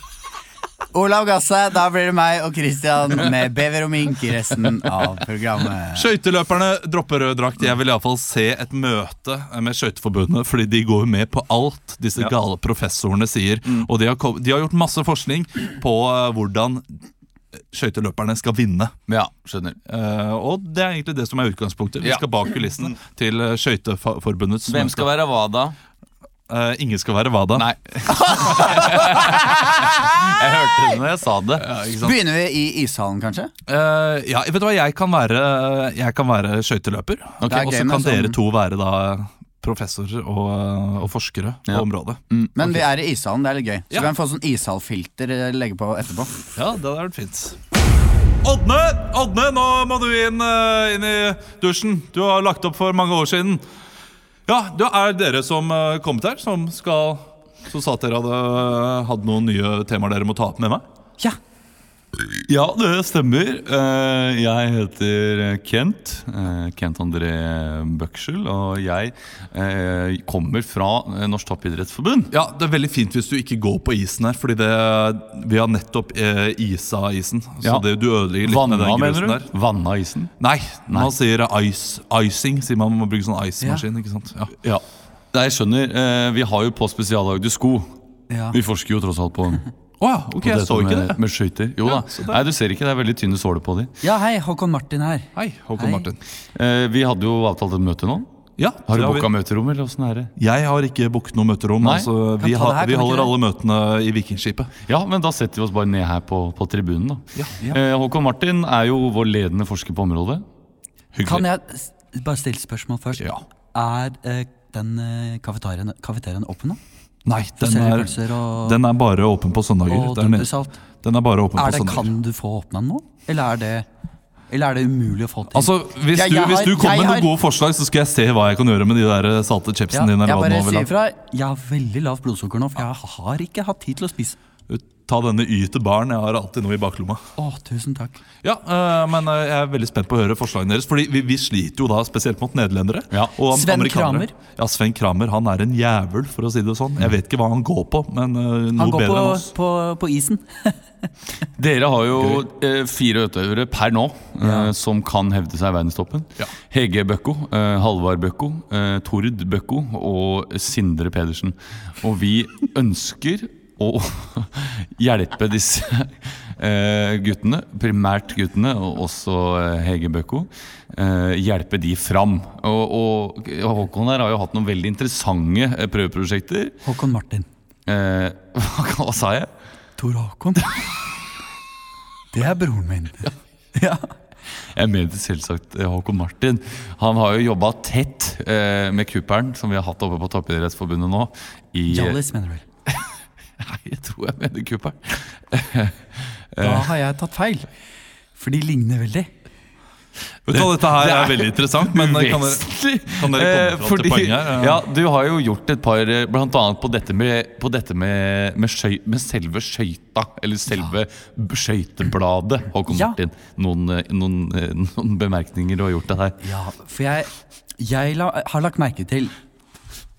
Olav Gasse, da blir det meg og Christian med Bever og mink i resten av programmet. Skøyteløperne dropper rød drakt. Jeg vil iallfall se et møte med Skøyteforbundet, fordi de går jo med på alt disse gale professorene sier. Og de har, kom- de har gjort masse forskning på eh, hvordan eh, skøyteløperne skal vinne. Ja, skjønner. Eh, og det er egentlig det som er utgangspunktet. Vi Ja. skal bak kulissene til eh, Skøyteforbundets Hvem skal være hva da? Eh, ingen skal være hva da? <laughs> Nei. <laughs> jeg hørte det når jeg sa det. Begynner vi i ishallen, kanskje? Eh, ja, vet du hva, jeg kan være, jeg kan være skøyteløper. Det er og så gøy med kan dere sånn- to være da professorer og, og forskere på området. Mm. Men vi er i ishallen, det er litt gøy. Så Ja. kan vi få sånn ishallfilter eh, legge på etterpå. Ja, det hadde vært fint. Ådne! Ådne, nå må du inn, eh, inn i dusjen. Du har lagt opp for mange år siden. Ja, det er dere som eh, kommet her, som skal Som sa at dere hadde, hadde noen nye temaer dere må ta opp med meg? Ja, det stemmer. Eh, Jeg heter Kent. eh, Kent André Bøksel. Og jeg eh, kommer fra eh, Norsk Toppidrettsforbund. Ja, Det er veldig fint hvis du ikke går på isen her, Fordi det, vi har nettopp eh, isa isen. Så Ja. det, du ødelegger litt med Vanna, den mener grusen du? der. Vanna isen? Nei, man sier ice, icing. Sier man, man må bruke sånn ice-maskin. ikke sant? Ja. Ja. Nei, jeg skjønner. eh, Vi har jo på spesiallagde sko. Vi forsker jo tross alt på, på Å ja, ok, jeg dette så ikke med, det. med skøyter. Jo da. Nei, du ser ikke. Det er veldig tynne såler på de. Ja, hei, Håkon Martin her. Hei, Håkon Hei. Martin. Eh, Vi hadde jo avtalt et møte nå. Ja, Har du det booka vi, møterom, eller åssen er det? jeg har ikke booket noe møterom. Nei, altså, kan vi, ta har- det her, vi kan vi holder ikke alle møtene i Vikingskipet. Ja, men da setter vi oss bare ned her på, på tribunen, da. Ja, Eh, Håkon Martin er jo vår ledende forsker på området. Kan jeg s- bare stille spørsmål først? Er eh, den eh, kafeteriaen kafeteriaen åpen nå? Nei, den Selger er, pølser og, den er bare åpen på søndager. og Der nede. dumpesalt. Den er bare åpen Er på det, søndager. kan du få åpna den nå? Eller er det, eller er det umulig å få til? Altså, hvis, Jeg- du, jeg hvis har- du kommer jeg med har- noen gode forslag, så skal jeg se hva jeg kan gjøre med de der eh, salte Ja, chipsene dine. Jeg Eller hva du bare nå vil ha. sier ifra. jeg har veldig lavt blodsukker nå, for jeg har ikke hatt tid til å spise. Ta denne Y til baren. Jeg har alltid noe i baklomma. Å, tusen takk. Ja, eh, men eh, Jeg er veldig spent på å høre forslagene deres. Fordi vi, vi sliter jo da spesielt mot nederlendere. Ja. Og am- Sven amerikanere. Kramer. Ja, Sven Kramer han er en jævel, for å si det sånn. Jeg vet ikke hva han går på, men eh, noe Han går på, bedre enn oss. på, på isen. Dere har jo eh, fire utøvere per nå eh, som kan hevde seg i verdenstoppen. Hege Bøkko, eh, Halvard Bøkko, eh, Tord Bøkko og Sindre <laughs> Pedersen. Og vi ønsker å hjelpe disse eh, guttene, primært guttene, og også eh, Hege Bøkko, eh, hjelpe de fram. Og, og Håkon her har jo hatt noen veldig interessante eh, prøveprosjekter. Håkon Martin. Eh, <laughs> hva, hva sa jeg? Tor Håkon. Det er broren min. Ja. Jeg mente selvsagt eh, Håkon Martin. Han har jo jobba tett eh, med kuppelen som vi har hatt oppe på Toppidrettsforbundet nå. I, Jollies, mener du vel? <laughs> Nei, jeg tror jeg mener kuppelen. <laughs> Da har jeg tatt feil. For de ligner veldig. Vet du hva, Dette <laughs> her er veldig interessant, men eh, kan dere, Vesentlig! kan dere komme fram til poenget her? Eh, Ja, du har jo gjort et par eh, Blant annet på dette med, på dette med, med, skøy, med selve skøyta. Eller selve b- skøytebladet. Håkon Ja. Martin, noen, eh, noen, eh, noen bemerkninger du har gjort det her. Ja, for jeg, jeg la, har lagt merke til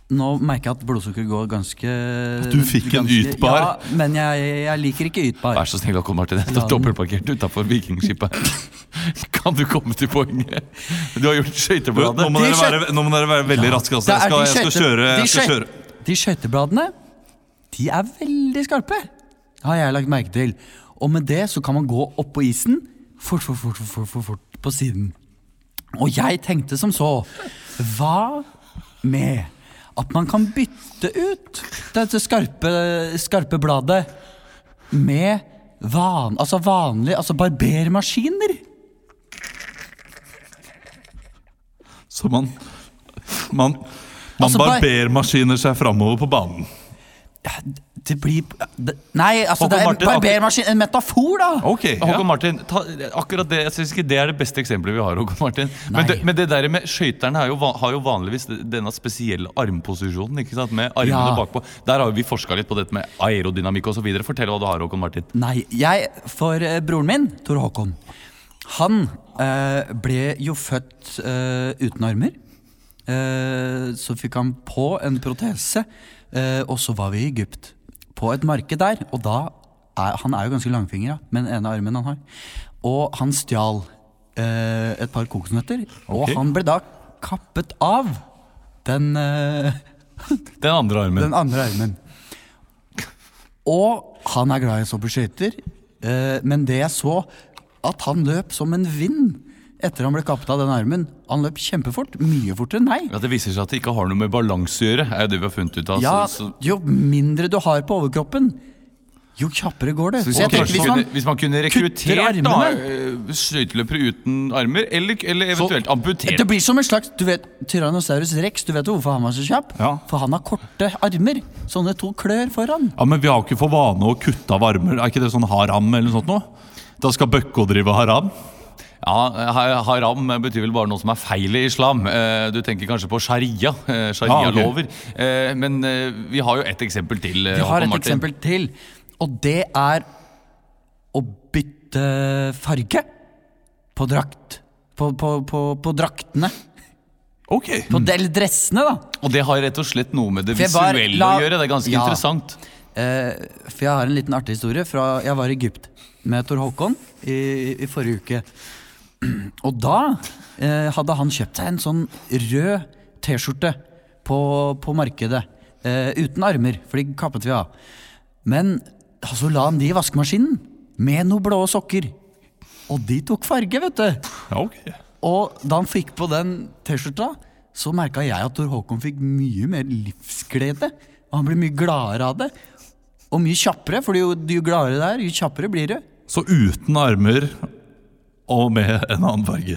Nå merker jeg at blodsukkeret går ganske At du fikk en ytbar. Ja, men jeg, jeg liker ikke ytbar. Vær så snill, Håkon Martin. Jeg La står den- dobbeltparkert utafor Vikingskipet. <laughs> Kan du komme til poenget? Du har gjort Nå skøytebladet. må De dere være, nå må dere være veldig raske. Det Altså. er Jeg, skal, de jeg skal skøyte- kjøre. de Jeg skal skøy- kjøre. De skøytebladene De er veldig skarpe, har jeg lagt merke til. Og med det så kan man gå oppå isen fort, fort, fort, fort, fort, fort, fort på siden. Og jeg tenkte som så Hva med at man kan bytte ut dette skarpe, skarpe bladet med van, altså vanlig, altså barbermaskiner? Så man, man, man Altså, bare- barbermaskiner seg framover på banen. Det blir det, Nei, altså Håkon det er en Martin, ak- barbermaskin, en metafor, da! Ok, ja. Håkon Martin, ta, akkurat det, jeg synes ikke det er det beste eksempelet vi har. Håkon Martin Men Nei. det, men det der med skøyterne har jo, va- har jo vanligvis denne spesielle armposisjonen. Ikke sant? Med armene Ja. bakpå. Der har jo vi forska litt på dette med aerodynamikk osv. Fortell hva du har, Håkon Martin. Nei, jeg, for eh, broren min, Tor Håkon Han eh, ble jo født eh, uten armer eh, Så fikk han på en protese eh, Og så var vi i Egypt På et marked der Og da, er, han er jo ganske langfinger da, Med den ene armen han har Og han stjal eh, et par kokosnøtter Og han ble da kappet av Den... Eh, Den andre armen. den andre armen. Og han er glad i å stå på skøyter, eh, men det jeg så, at han løp som en vind etter han ble kappet av den armen. Han løp kjempefort, mye fortere enn meg. At det viser seg at det ikke har noe med balanse å gjøre, er jo det vi har funnet ut av. Ja, Altså, så, så, jo mindre du har på overkroppen, jo kjappere går det. hvis, Så jeg man tenker kanskje hvis kunne, man hvis man kunne kutter rekruttert da, armene. eh, skøyteløpere uten armer, eller, eller eventuelt amputert Det blir som en slags du vet, Tyrannosaurus rex. Du vet jo hvorfor han var så kjapp? Ja. For han har korte armer. Sånne to klør foran. ja, Men vi har jo ikke for vane å kutte av armer. Er ikke det sånn haram eller noe sånt nå? Da skal Bøkko drive haram? Ja, ha- Haram betyr vel bare noe som er feil i islam. Eh, Du tenker kanskje på sharia. eh, Sharia-lover. Eh, Men eh, vi har jo et eksempel til. Vi eh, har et eksempel til, og det er å bytte farge på drakt. På, på, på, på draktene. Ok. På del dressene, da. Og det har rett og slett noe med det For jeg var- visuelle la- å gjøre. Det er ganske Ja. interessant. Eh, for jeg har en liten artig historie fra jeg var i Egypt med Tor Håkon i, i forrige uke. <clears throat> Og da eh, hadde han kjøpt seg en sånn rød T-skjorte på, på markedet. Eh, uten armer, for de kappet vi av. Men så la han de i vaskemaskinen med noen blå sokker. Og de tok farge, vet du. Ja, ok. Og da han fikk på den T-skjorta, så merka jeg at Tor Håkon fikk mye mer livsglede. Og han ble mye gladere av det. Og mye kjappere, for jo, jo gladere det er, jo kjappere blir du. Så uten armer og med en annen farge.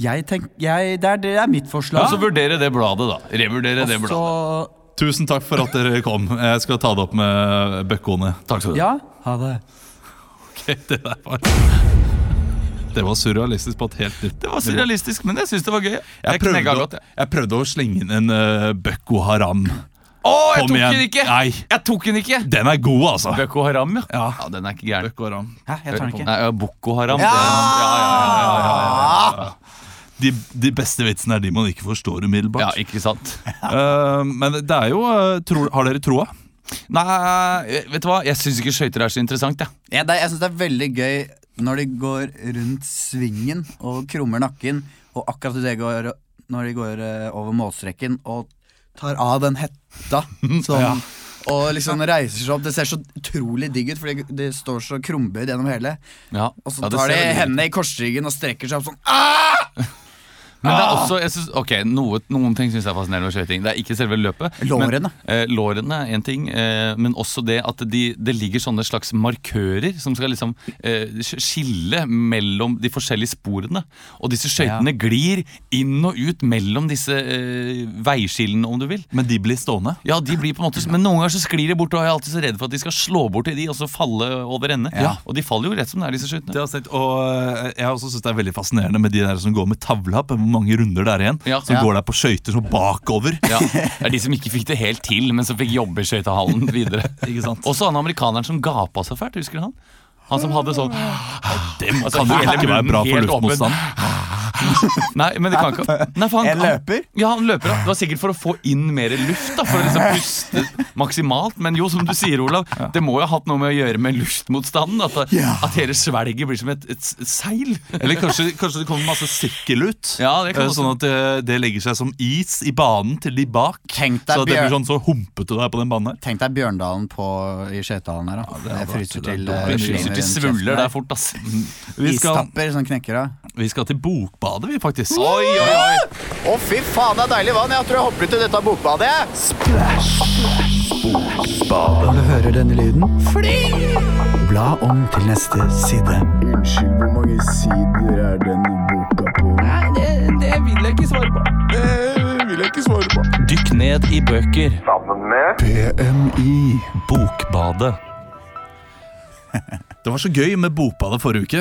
Jeg tenk, jeg, det, er, det er mitt forslag. Og så vurdere det bladet, da. Revurdere Altså- det bladet. Så- Tusen takk for at dere kom. Jeg skal ta det opp med Bøkkoene. Takk skal du ha. Ja, ha det. Det der var Det var surrealistisk på et helt nytt Det var surrealistisk, men jeg syns det var gøy. Jeg knekka prøvde, godt, å, jeg. jeg prøvde å slenge inn en eh, Bøkko Haram. Å, jeg Kom tok igjen. den ikke! Nei. Jeg tok den ikke! Den er god, altså. Bøkko Haram, ja. ja. Den er ikke gæren. Bøkko Haram. Hæ, jeg tar den ikke. Nei, Boko Haram. Ja! Ja, ja, ja, ja, ja. De, de beste vitsene er de man ikke forstår umiddelbart. ja, ikke <laughs> sant? Eh, men det er jo eh, tro, Har dere troa? Nei, vet du hva? Jeg syns ikke skøyter er så interessant. Jeg. Ja, det, jeg syns det er veldig gøy når de går rundt svingen og krummer nakken, og akkurat det går, <laughs> når de går eh, over målstreken og tar av den hetta som Og liksom reiser seg opp. Det ser så utrolig digg ut, fordi de står så krumbøyd gjennom hele. Ja. Og så Ja, det tar de ser veldig ut. hendene i korsryggen og strekker seg opp sånn. Ah! Ah. Men det er også, jeg synes, ok, noe, Noen ting syns jeg er fascinerende med skøyting. Det er ikke selve løpet. Lårene. Men, eh, lårene er en ting, eh, men også det at de, det ligger sånne slags markører som skal liksom eh, sk- skille mellom de forskjellige sporene. Og disse skøytene glir inn og ut mellom disse eh, veiskillene, om du vil. Men de blir stående. Ja, de blir på en måte Men noen ganger så sklir de bort, og jeg er alltid så redd for at de skal slå bort til de og så falle over ende. Ja. Og de faller jo rett som det er, disse skøytene. Det har jeg sett, og eh, jeg har også synes det er veldig fascinerende med de der som går med tavla på hvor mange runder det er igjen. Ja. Som Ja. går der på skøyter sånn bakover. Ja, det er de som ikke fikk det helt til, men som fikk jobbe i skøytehallen <laughs> videre. Ikke sant? Og så han amerikaneren som gapa så fælt, husker du han? Han som hadde sånn Det må- Altså, kan jo hele ikke være munnen bra for helt åpen. luftmotstand. <laughs> Nei, men det kan ikke Nei, for han, En løper? Han, ja, han løper. da. Det var sikkert for å få inn mer luft, da, for å liksom puste maksimalt. Men jo, som du sier, Olav, det må jo ha hatt noe med å gjøre med luftmotstanden. At, at hele svelget blir som et, et s- seil. Eller kanskje, kanskje det kommer masse sikkel ut, Ja, det kan eh, også- sånn at eh, det legger seg som is i banen til de bak. Tenk Så deg, at det blir Bjørn, sånn så humpete der på den banen her. tenk deg Bjørndalen på, i Skjøtalen her. Da. det hadde vært- fryser det til eh, hadde vært- Det slimer fryser til rundt svulmer kjeften der fort, ass. der. Mm. Vi skal, Istapper som knekker av. vi skal til Bokbadet, vi, faktisk. Oi, oi, oi. Å, fy faen, det er deilig vann! Jeg tror jeg hopper ut i dette bokbadet. Når du hører denne lyden, bla om til neste side. Unnskyld, hvor mange sider er denne boka på? Nei, det, vil jeg ikke svare på. Dykk ned i bøker. PMI. Bokbadet. Det var så gøy med Bokbadet forrige uke,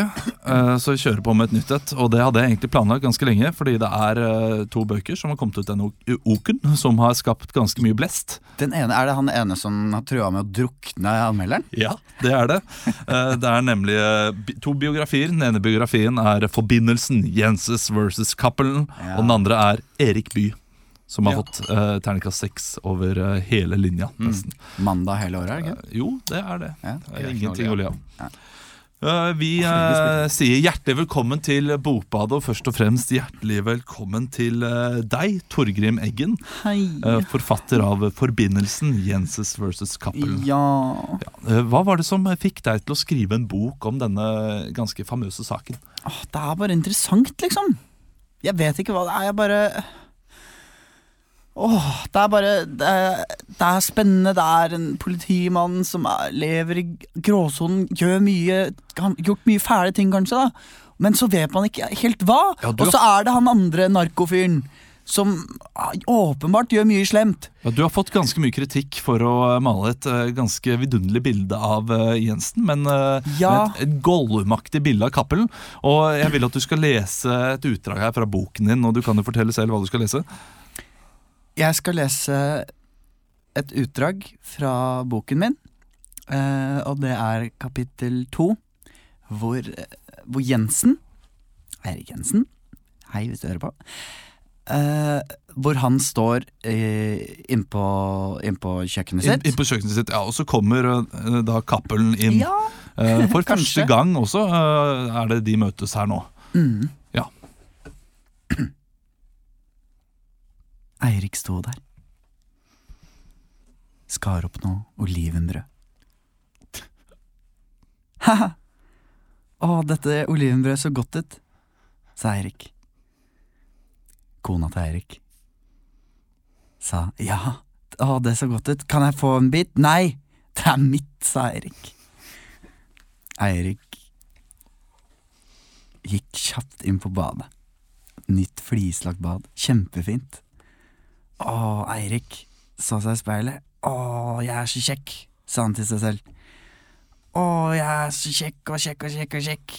eh, så vi kjører på med et nytt et. Og det hadde jeg egentlig planlagt ganske lenge, fordi det er eh, to bøker som har kommet ut denne u- uken, som har skapt ganske mye blest. Den ene, er det han ene som har trua med å drukne anmelderen? Ja, det er det. Eh, Det er nemlig eh, bi- to biografier. Den ene biografien er 'Forbindelsen', Jenses versus Cappelen. Og den andre er Erik Bye, som har Ja. fått uh, terningkast seks over eh, hele linja. nesten. Mandag hele året, er det ikke? Jo, det er det. Ja. Det er ingenting å le av. Eh, vi eh, sier hjertelig velkommen til Bokbadet, og først og fremst hjertelig velkommen til eh, deg, Torgrim Eggen. eh, forfatter av 'Forbindelsen', Jenses versus Cappelen. Ja Eh, Hva var det som fikk deg til å skrive en bok om denne ganske famøse saken? Åh, Det er bare interessant, liksom. Jeg vet ikke hva det er, jeg bare Åh, det er bare det er, det er spennende. Det er en politimann som er, lever i gråsonen, gjør mye Har gjort mye fæle ting, kanskje, da. Men så vet man ikke helt hva. Ja, du Og så er det han andre narkofyren som ah, åpenbart gjør mye slemt. Ja, du har fått ganske mye kritikk for å eh, male et eh, ganske vidunderlig bilde av eh, Jensen, men eh, Ja. med et, et Gollum-aktig bilde av Cappelen. Og jeg vil at du skal lese et utdrag her fra boken din, og du kan jo fortelle selv hva du skal lese. Jeg skal lese et utdrag fra boken min, eh, og det er kapittel to, hvor, eh, hvor Jensen Eirik Jensen, hei hvis du hører på. eh, hvor han står eh, innpå inn kjøkkenet Inn, sitt. inn på kjøkkenet sitt, ja, Og så kommer eh, da Cappelen inn. Ja. Eh, for første Kanskje. gang også eh, er det de møtes her nå. Mm. Ja. <clears throat> Eirik sto der. Skar opp noe olivenbrød. <laughs> Haha. Å, dette olivenbrødet så godt ut, sa Eirik. Kona til Eirik sa ja, å, det så godt ut, kan jeg få en bit? Nei, det er mitt, sa Eirik. Eirik gikk kjapt inn på badet. Nytt flislagt bad. Kjempefint. Å, Eirik så seg i speilet. Å, jeg er så kjekk, sa han til seg selv. Å, jeg er så kjekk og kjekk og kjekk og kjekk.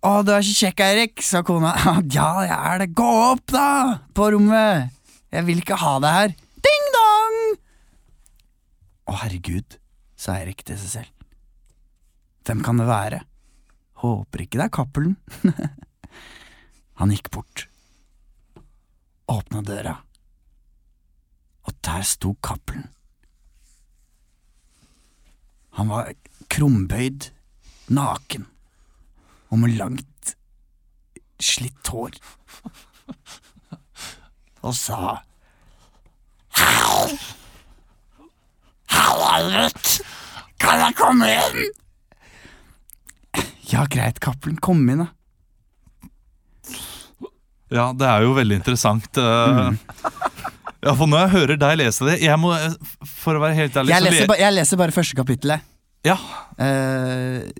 Å, du er så kjekk, Eirik, sa kona. <laughs> Ja, jeg er det. Gå opp, da, på rommet. Jeg vil ikke ha deg her. Ding dong! Å, herregud, sa Eirik til seg selv. Hvem kan det være? Håper ikke det er Cappelen. Han gikk bort, åpna døra, og der sto Cappelen. Han var krumbøyd, naken og med langt, slitt hår, og sa Au! Marit, kan jeg komme inn? Ja, greit, Cappelen. Kom inn, da. Ja, det er jo veldig interessant. eh. Ja, for når jeg hører deg lese det jeg må, eh, For å være helt ærlig Jeg så leser, le- ba, jeg leser bare første kapittel, jeg. Ja, Eh,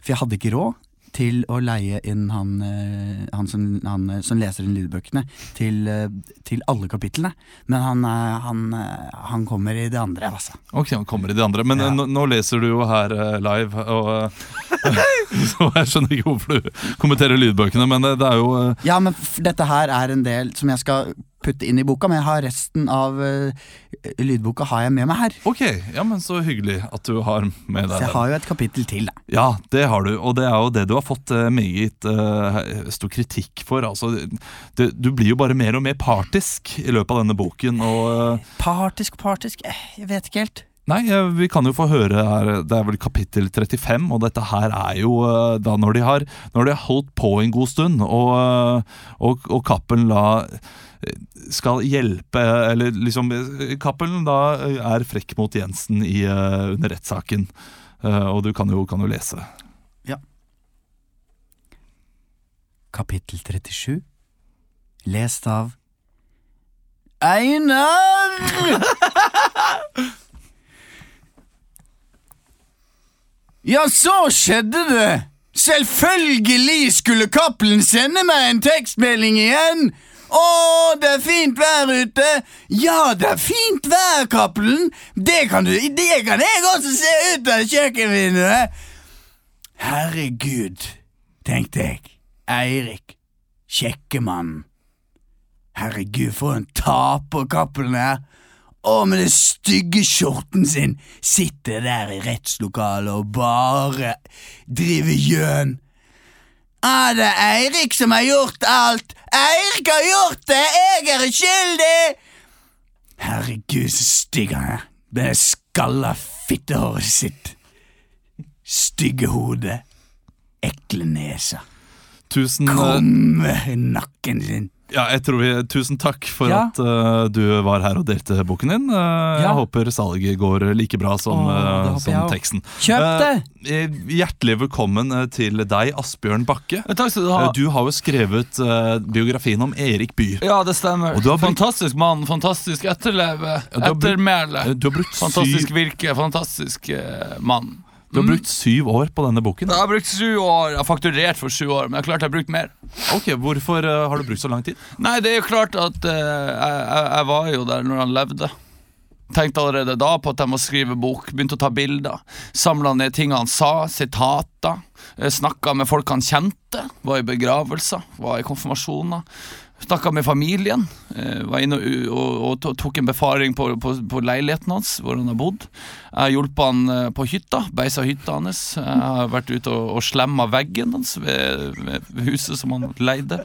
for jeg hadde ikke råd til å leie inn han, eh, han, som, han eh, som leser inn lydbøkene, til, eh, til alle kapitlene. Men han, eh, han, eh, han kommer i det andre, altså. ok, han kommer i de andre Men eh, nå, nå leser du jo her eh, live og, eh, <laughs> Så jeg skjønner ikke hvorfor du kommenterer lydbøkene Men eh, det er jo eh, Ja, men f dette her er en del som jeg skal putte inn i boka, men jeg har resten av eh, lydboka har jeg med meg her. Ok, ja, men så hyggelig at du har med Så deg jeg den har jo et kapittel til, da. Ja, det har du Og det er jo det du har fått eh, meget eh, stor kritikk for altså, det, Du blir jo bare mer og mer partisk i løpet av denne boken Og... eh, Partisk, partisk, eh, jeg vet ikke helt. Nei, eh, vi kan jo få høre her Det er vel kapittel 35, og dette her er jo eh, da når de har, når de har holdt på en god stund, og, eh, og, og Cappelen da eh, skal hjelpe eh, Eller liksom eh, Cappelen da eh, er frekk mot Jensen i, eh, under rettssaken. Eh, Og du kan jo, kan jo lese. Kapittel 37 Lest av Einar! ja, så skjedde det! Selvfølgelig skulle Cappelen sende meg en tekstmelding igjen! Å, det er fint vær ute! Ja, det er fint vær, Cappelen! Det kan du, det kan jeg også se ut av kjøkkenvinduet! Herregud, tenkte jeg. Eirik, kjekke mann. Herregud, for en taper Cappelen er. Å, med den stygge skjorten sin sitter der i rettslokalet og bare driver gjøn. Ah, det er Eirik som har gjort alt. Eirik har gjort det! Jeg er uskyldig! Herregud, så stygg han er. Det skalla fittehåret sitt. Stygge hodet. Ekle nesa. Tusen, eh, Komme nakken sin. ja, jeg tror vi, tusen takk for Ja. at eh, du var her og delte boken din. Eh, Jeg håper salget går like bra som, Åh, det eh, håper som jeg teksten. Kjøp det! Eh, Hjertelig velkommen eh, til deg, Asbjørn Bakke. Takk skal du Eh, ha. Du har jo skrevet eh, biografien om Erik Bye. Ja, det stemmer. Og du har brukt- Fantastisk mann, fantastisk etterleve, du har brukt- ettermæle. Eh, Du har brukt Fantastisk syv, virke, fantastisk eh, mann. du har brukt syv år på denne boken. Jeg har brukt sju år, jeg har fakturert for sju år, men jeg har klart jeg har brukt mer. Ok, Hvorfor eh, har du brukt så lang tid? Nei, det er jo klart at eh, jeg, jeg, jeg var jo der når han levde. Tenkte allerede da på at jeg må skrive bok, begynte å ta bilder. Samla ned ting han sa, sitater. eh, Snakka med folk han kjente. Var i begravelser, var i konfirmasjoner. Snakka med familien. eh, Var inne og, og, og to- tok en befaring på, på, på leiligheten hans, hvor han har bodd. Jeg hjalp han eh, på hytta, beisa hytta hans. Jeg har vært ute og, og slemma veggen hans ved, ved huset som han leide.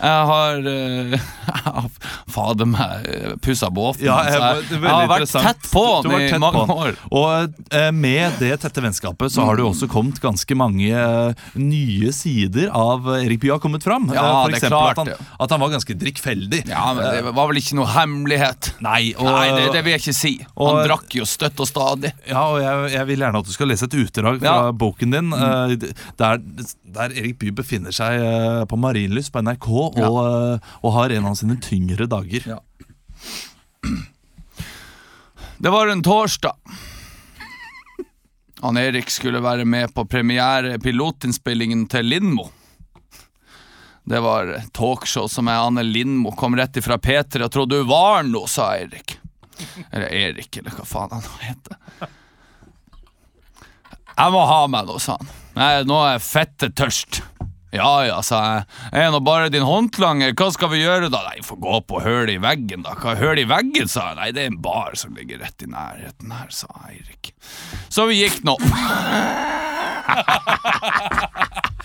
Jeg har eh, <laughs> jeg har Fader meg, pussa båten Ja, hans. jeg- Jeg, det er jeg, veldig har vært interessant. tett på Du han har vært i tett mange på han. år. Mm. Og eh, med det tette vennskapet så har det jo også kommet ganske mange eh, nye sider av eh, Erik Bye har kommet fram. Ja, Eh, for det er eksempel klart, at, ja. han, at han var ganske drikkfeldig. Eh, Ja, men Det var vel ikke noe hemmelighet. Nei, og, Nei, det, det vil jeg ikke si. Han og- drakk jo støtt og stadig. Ja, og jeg, jeg vil gjerne at du skal lese et utdrag fra Ja. Mm. boken din, eh, der, der Erik Bye befinner seg eh, på Marienlyst på NRK og, eh, og har en av sine tyngre dager. Ja. Det var en torsdag. Han Erik skulle være med på premierepilotinnspillingen til Lindmo. Det var talkshow som jeg Anne Lindmo kom rett ifra P3 og trodde hun var noe, sa Erik. Eller Erik, eller hva faen han nå heter. Jeg må ha meg noe, sa han. Nei, nå er jeg fette tørst. Ja ja, sa jeg. Er nå bare din håndlanger, hva skal vi gjøre da? Nei, få gå på hølet i veggen, da. Hva høl i veggen, sa jeg. Nei, det er en bar som ligger rett i nærheten her, sa Eirik. Så vi gikk nå. <laughs>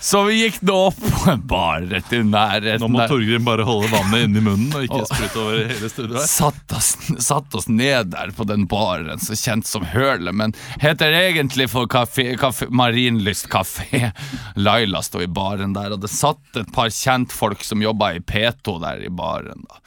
Så vi gikk nå opp på en bar rett i Nå nærheten må der. Torgrim bare holde vannet inni munnen og ikke sprute over hele studioet. her. <laughs> Satt oss, satt oss ned der på den baren, så kjent som Hølet, men heter egentlig for kafé, kafé, Marienlyst kafé. <laughs> Laila sto i baren der, og det satt et par kjentfolk som jobba i P2 der i baren. da.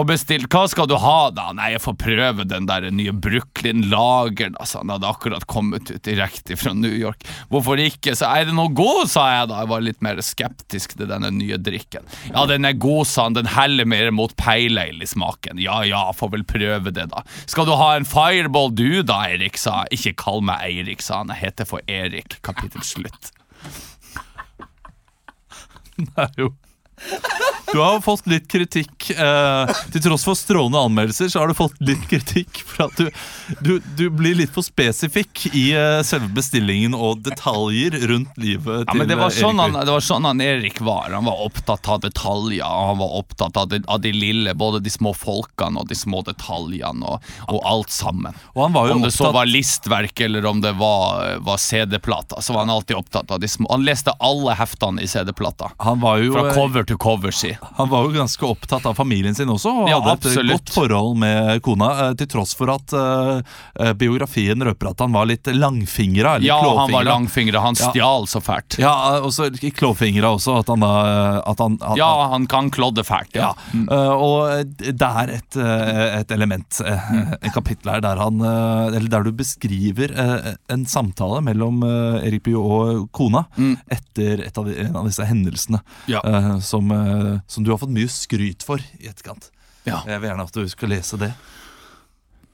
Og bestilt 'Hva skal du ha', da? Nei, jeg får prøve den der nye Brooklyn Lager, da, sa han. Hadde akkurat kommet ut direkte fra New York. Hvorfor ikke? Så er den å god, sa jeg da. Jeg var litt mer skeptisk til denne nye drikken. Ja, den er god, sa han. Den heller mer mot peileil i smaken. Ja ja, får vel prøve det, da. Skal du ha en fireball du da, Eirik, sa jeg. Ikke kall meg Eirik, sa han. Jeg heter for Erik. Kapittel slutt. Det er jo- Du har fått litt kritikk. Eh, til tross for strålende anmeldelser så har du fått litt kritikk for at du, du, du blir litt for spesifikk i eh, selve bestillingen og detaljer rundt livet Ja, til men det var, eh, sånn han, Erik. det var sånn han Erik var. Han var opptatt av detaljer. og Han var opptatt av de, av de lille, både de små folkene og de små detaljene, og, og alt sammen. Og han var jo om det så opptatt- var listverk eller om det var, var CD-plata, så var han alltid opptatt av de små. Han leste alle heftene i CD-plata. Han var, jo, Fra eh, cover to cover, si. han var jo ganske opptatt av familien sin også, og Ja, hadde et absolutt. godt forhold med kona, eh, til tross for at eh, eh, biografien røper at han var litt langfingra. Eller Ja, han var klåfingra. langfingra. Han Ja. stjal så fælt. Ja, og så i klåfingra også, at han da eh, at han, at, Ja, han kan klodde fælt. Ja. Ja, eh, og det er et, eh, et element, eh, et kapittel her, der, han, eh, eller der du beskriver eh, en samtale mellom eh, Erik Bye og kona etter et av de, en av disse hendelsene, Mm. Ja. eh, som, eh, som du har fått mye skryt for i etterkant. Ja. Jeg vil gjerne at du skal lese det.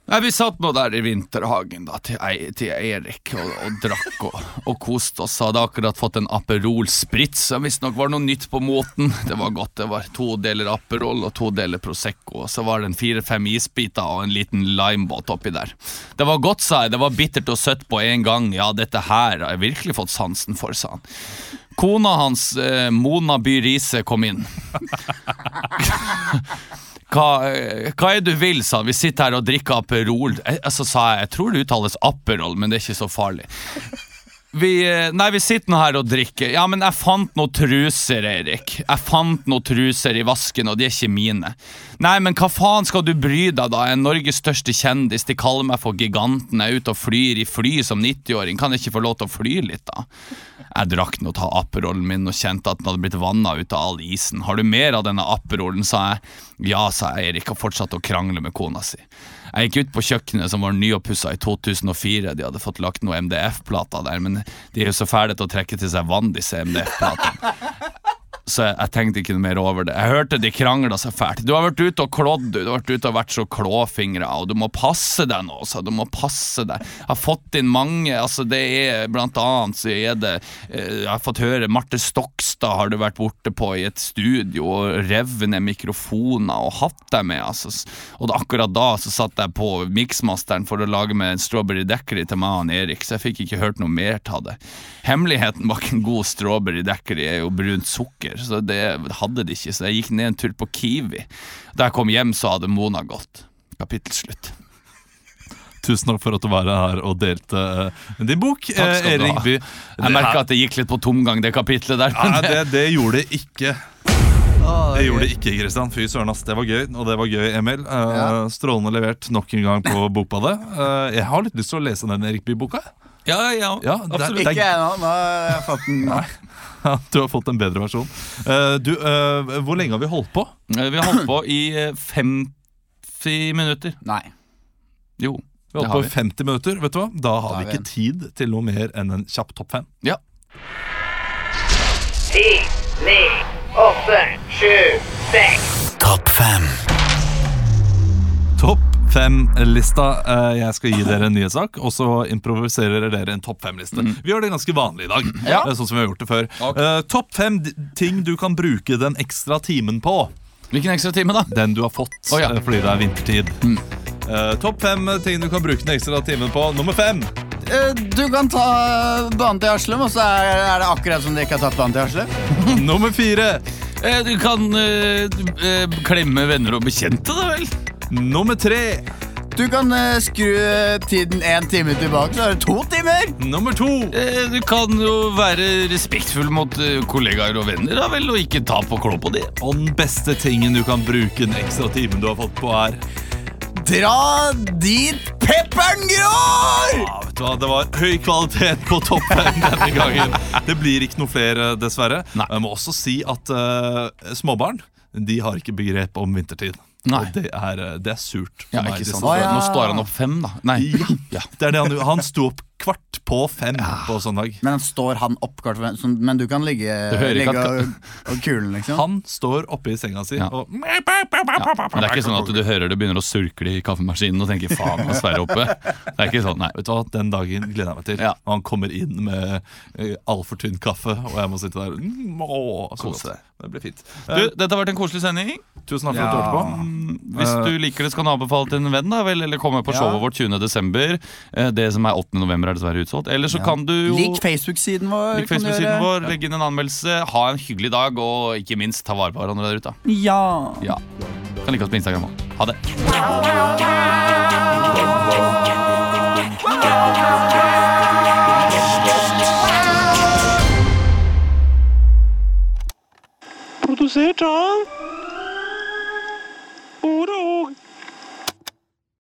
Nei, Vi satt nå der i vinterhagen da, til, Ei- til Erik og, og drakk og, og koste oss. Hadde akkurat fått en Aperol Spritz, som visstnok var noe nytt på moten. Det var godt. Det var to deler Aperol og to deler Prosecco. Og så var det en fire-fem isbiter og en liten limebåt oppi der. Det var godt, sa jeg. Det var bittert og søtt på en gang. Ja, dette her har jeg virkelig fått sansen for, sa han. Kona hans, eh, Mona By Riise, kom inn. Hva, eh, hva er det du vil, sa han. Vi sitter her og drikker Aperol. Eh, Så sa jeg jeg tror det uttales Aperol, men det er ikke så farlig. Vi, eh, nei, vi sitter nå her og drikker. Ja, men jeg fant noen truser, Erik. Jeg fant noen truser i vasken, og de er ikke mine. Nei, men hva faen skal du bry deg, da? Jeg er Norges største kjendis. De kaller meg for Giganten. Jeg er ute og flyr i fly som 90-åring. Kan jeg ikke få lov til å fly litt, da? Jeg drakk nå av Aperolen min og kjente at den hadde blitt vanna ut av all isen. Har du mer av denne Aperolen, sa jeg. Ja, sa jeg, Erik, og fortsatte å krangle med kona si. Jeg gikk ut på kjøkkenet, som var nyoppussa i 2004, de hadde fått lagt noe MDF-plater der, men de er jo så fæle til å trekke til seg vann, disse MDF-platene. Så jeg, jeg tenkte ikke noe mer over det. Jeg hørte de krangla så fælt. Du har vært ute og klådd, du. Du har vært ute og vært så klåfingra, og du må passe deg nå, sa jeg. Du må passe deg. Jeg har fått inn mange, altså det er blant annet så er det eh, Jeg har fått høre Marte Stokstad har du vært borte på i et studio og revet ned mikrofoner og hatt deg med, altså. S- Og da- akkurat da så satt jeg på miksmasteren for å lage med en strawberry daiquiri til meg og han Erik, så jeg fikk ikke hørt noe mer av det. Hemmeligheten bak en god strawberry daiquiri er jo brunt sukker, så det hadde de ikke, så jeg gikk ned en tur på Kiwi. Da jeg kom hjem, så hadde Mona gått. Kapittel slutt. Tusen takk for at du var her og delte eh, din bok, Takk eh, skal du Erik ha. Bye. Jeg merka at det gikk litt på tomgang, det kapitlet der. Nei, Men det, det, det gjorde det ikke. Det gjorde det ikke, Kristian. Fy søren, ass. Det var gøy. Og det var gøy, Emil. Eh, Strålende levert nok en gang på Bokbadet. Eh, jeg har litt lyst til å lese den Erik Bye-boka. ja, ja, Ja, det- absolutt. det er- Ikke ennå, nå har jeg fått den. <laughs> Du har fått en bedre versjon. Eh, du, eh, hvor lenge har vi holdt på? Eh, Vi har holdt på i eh, 50 minutter. Nei. Jo, Vi har holdt det har på i vi. 50 minutter. vet du hva? Da har Da vi er vi ikke tid til noe mer enn en kjapp topp fem. Ja. ti, ni, åtte, sju, seks. Topp fem. Topp fem-lista. Eh, jeg skal gi dere en nyhetssak, og så improviserer dere en topp fem-liste. Vi gjør det ganske vanlig i dag. Mm. Ja. eh, Sånn som vi har gjort det før Ok. Eh, Topp fem d- ting du kan bruke den ekstra timen på. Hvilken ekstra time, da? Den du har fått Å, ja. Mm. eh, fordi det er vintertid. Eh, topp fem eh, ting du kan bruke den ekstra timen på. Nummer fem. Eh, Du kan ta banen til Aslum, og så er, er det akkurat som dere ikke har tatt banen til Aslum. Nummer fire. Mm. Eh, Du kan eh, du, eh, klemme venner og bekjente, da vel? Nummer tre. Du kan eh, skru tiden én time tilbake, så er det to timer! Nummer to. Eh, Du kan jo være respektfull mot eh, kollegaer og venner, da vel, og ikke ta på klå på de. Og den beste tingen du kan bruke den ekstra timen du har fått på, er Dra dit pepperen gror! Ja, vet du hva, Det var høy kvalitet på toppen denne gangen. <laughs> Det blir ikke noe flere, dessverre. Nei. Jeg må også si at eh, småbarn de har ikke begrep om vintertid. Nei. Og det er, eh, det er surt. for Ja, meg, ikke sant? dessverre. Å, ja. Nå står han opp fem, da. Nei. Ja. Det er det han, han sto opp kvart på fem på søndag. Men han står han opp kvart for sånn, Men du kan ligge, hører ikke ligge at- og, og kulen, liksom. Han står oppe i senga si Ja. og Ja. Men det er ikke sånn at du hører det begynner å surkle i kaffemaskinen og tenker 'faen, han Sverre oppe'. Det er ikke sånn, nei. Vet du hva, Den dagen gleder jeg meg til. Ja. Og han kommer inn med eh, altfor tynn kaffe, og jeg må sitte der mm, å, så Kose godt. Det blir fint. Du, dette har vært en koselig sending. Tusen takk for at du hørte på. Hvis Eh, du liker det, så kan du anbefale til en venn, da vel, eller komme på showet vårt 20. desember. Eh, Det som er 8. november, er dessverre utsolgt. Eller så kan du jo Lik Facebook-siden vår. Lik kan du Facebook-siden gjøre. vår, legge inn en anmeldelse. Ha en hyggelig dag, og ikke minst ta vare på hverandre der ute. Ja. Ja. Kan like oss på Instagram òg. Ha det. Pow, pow, pow.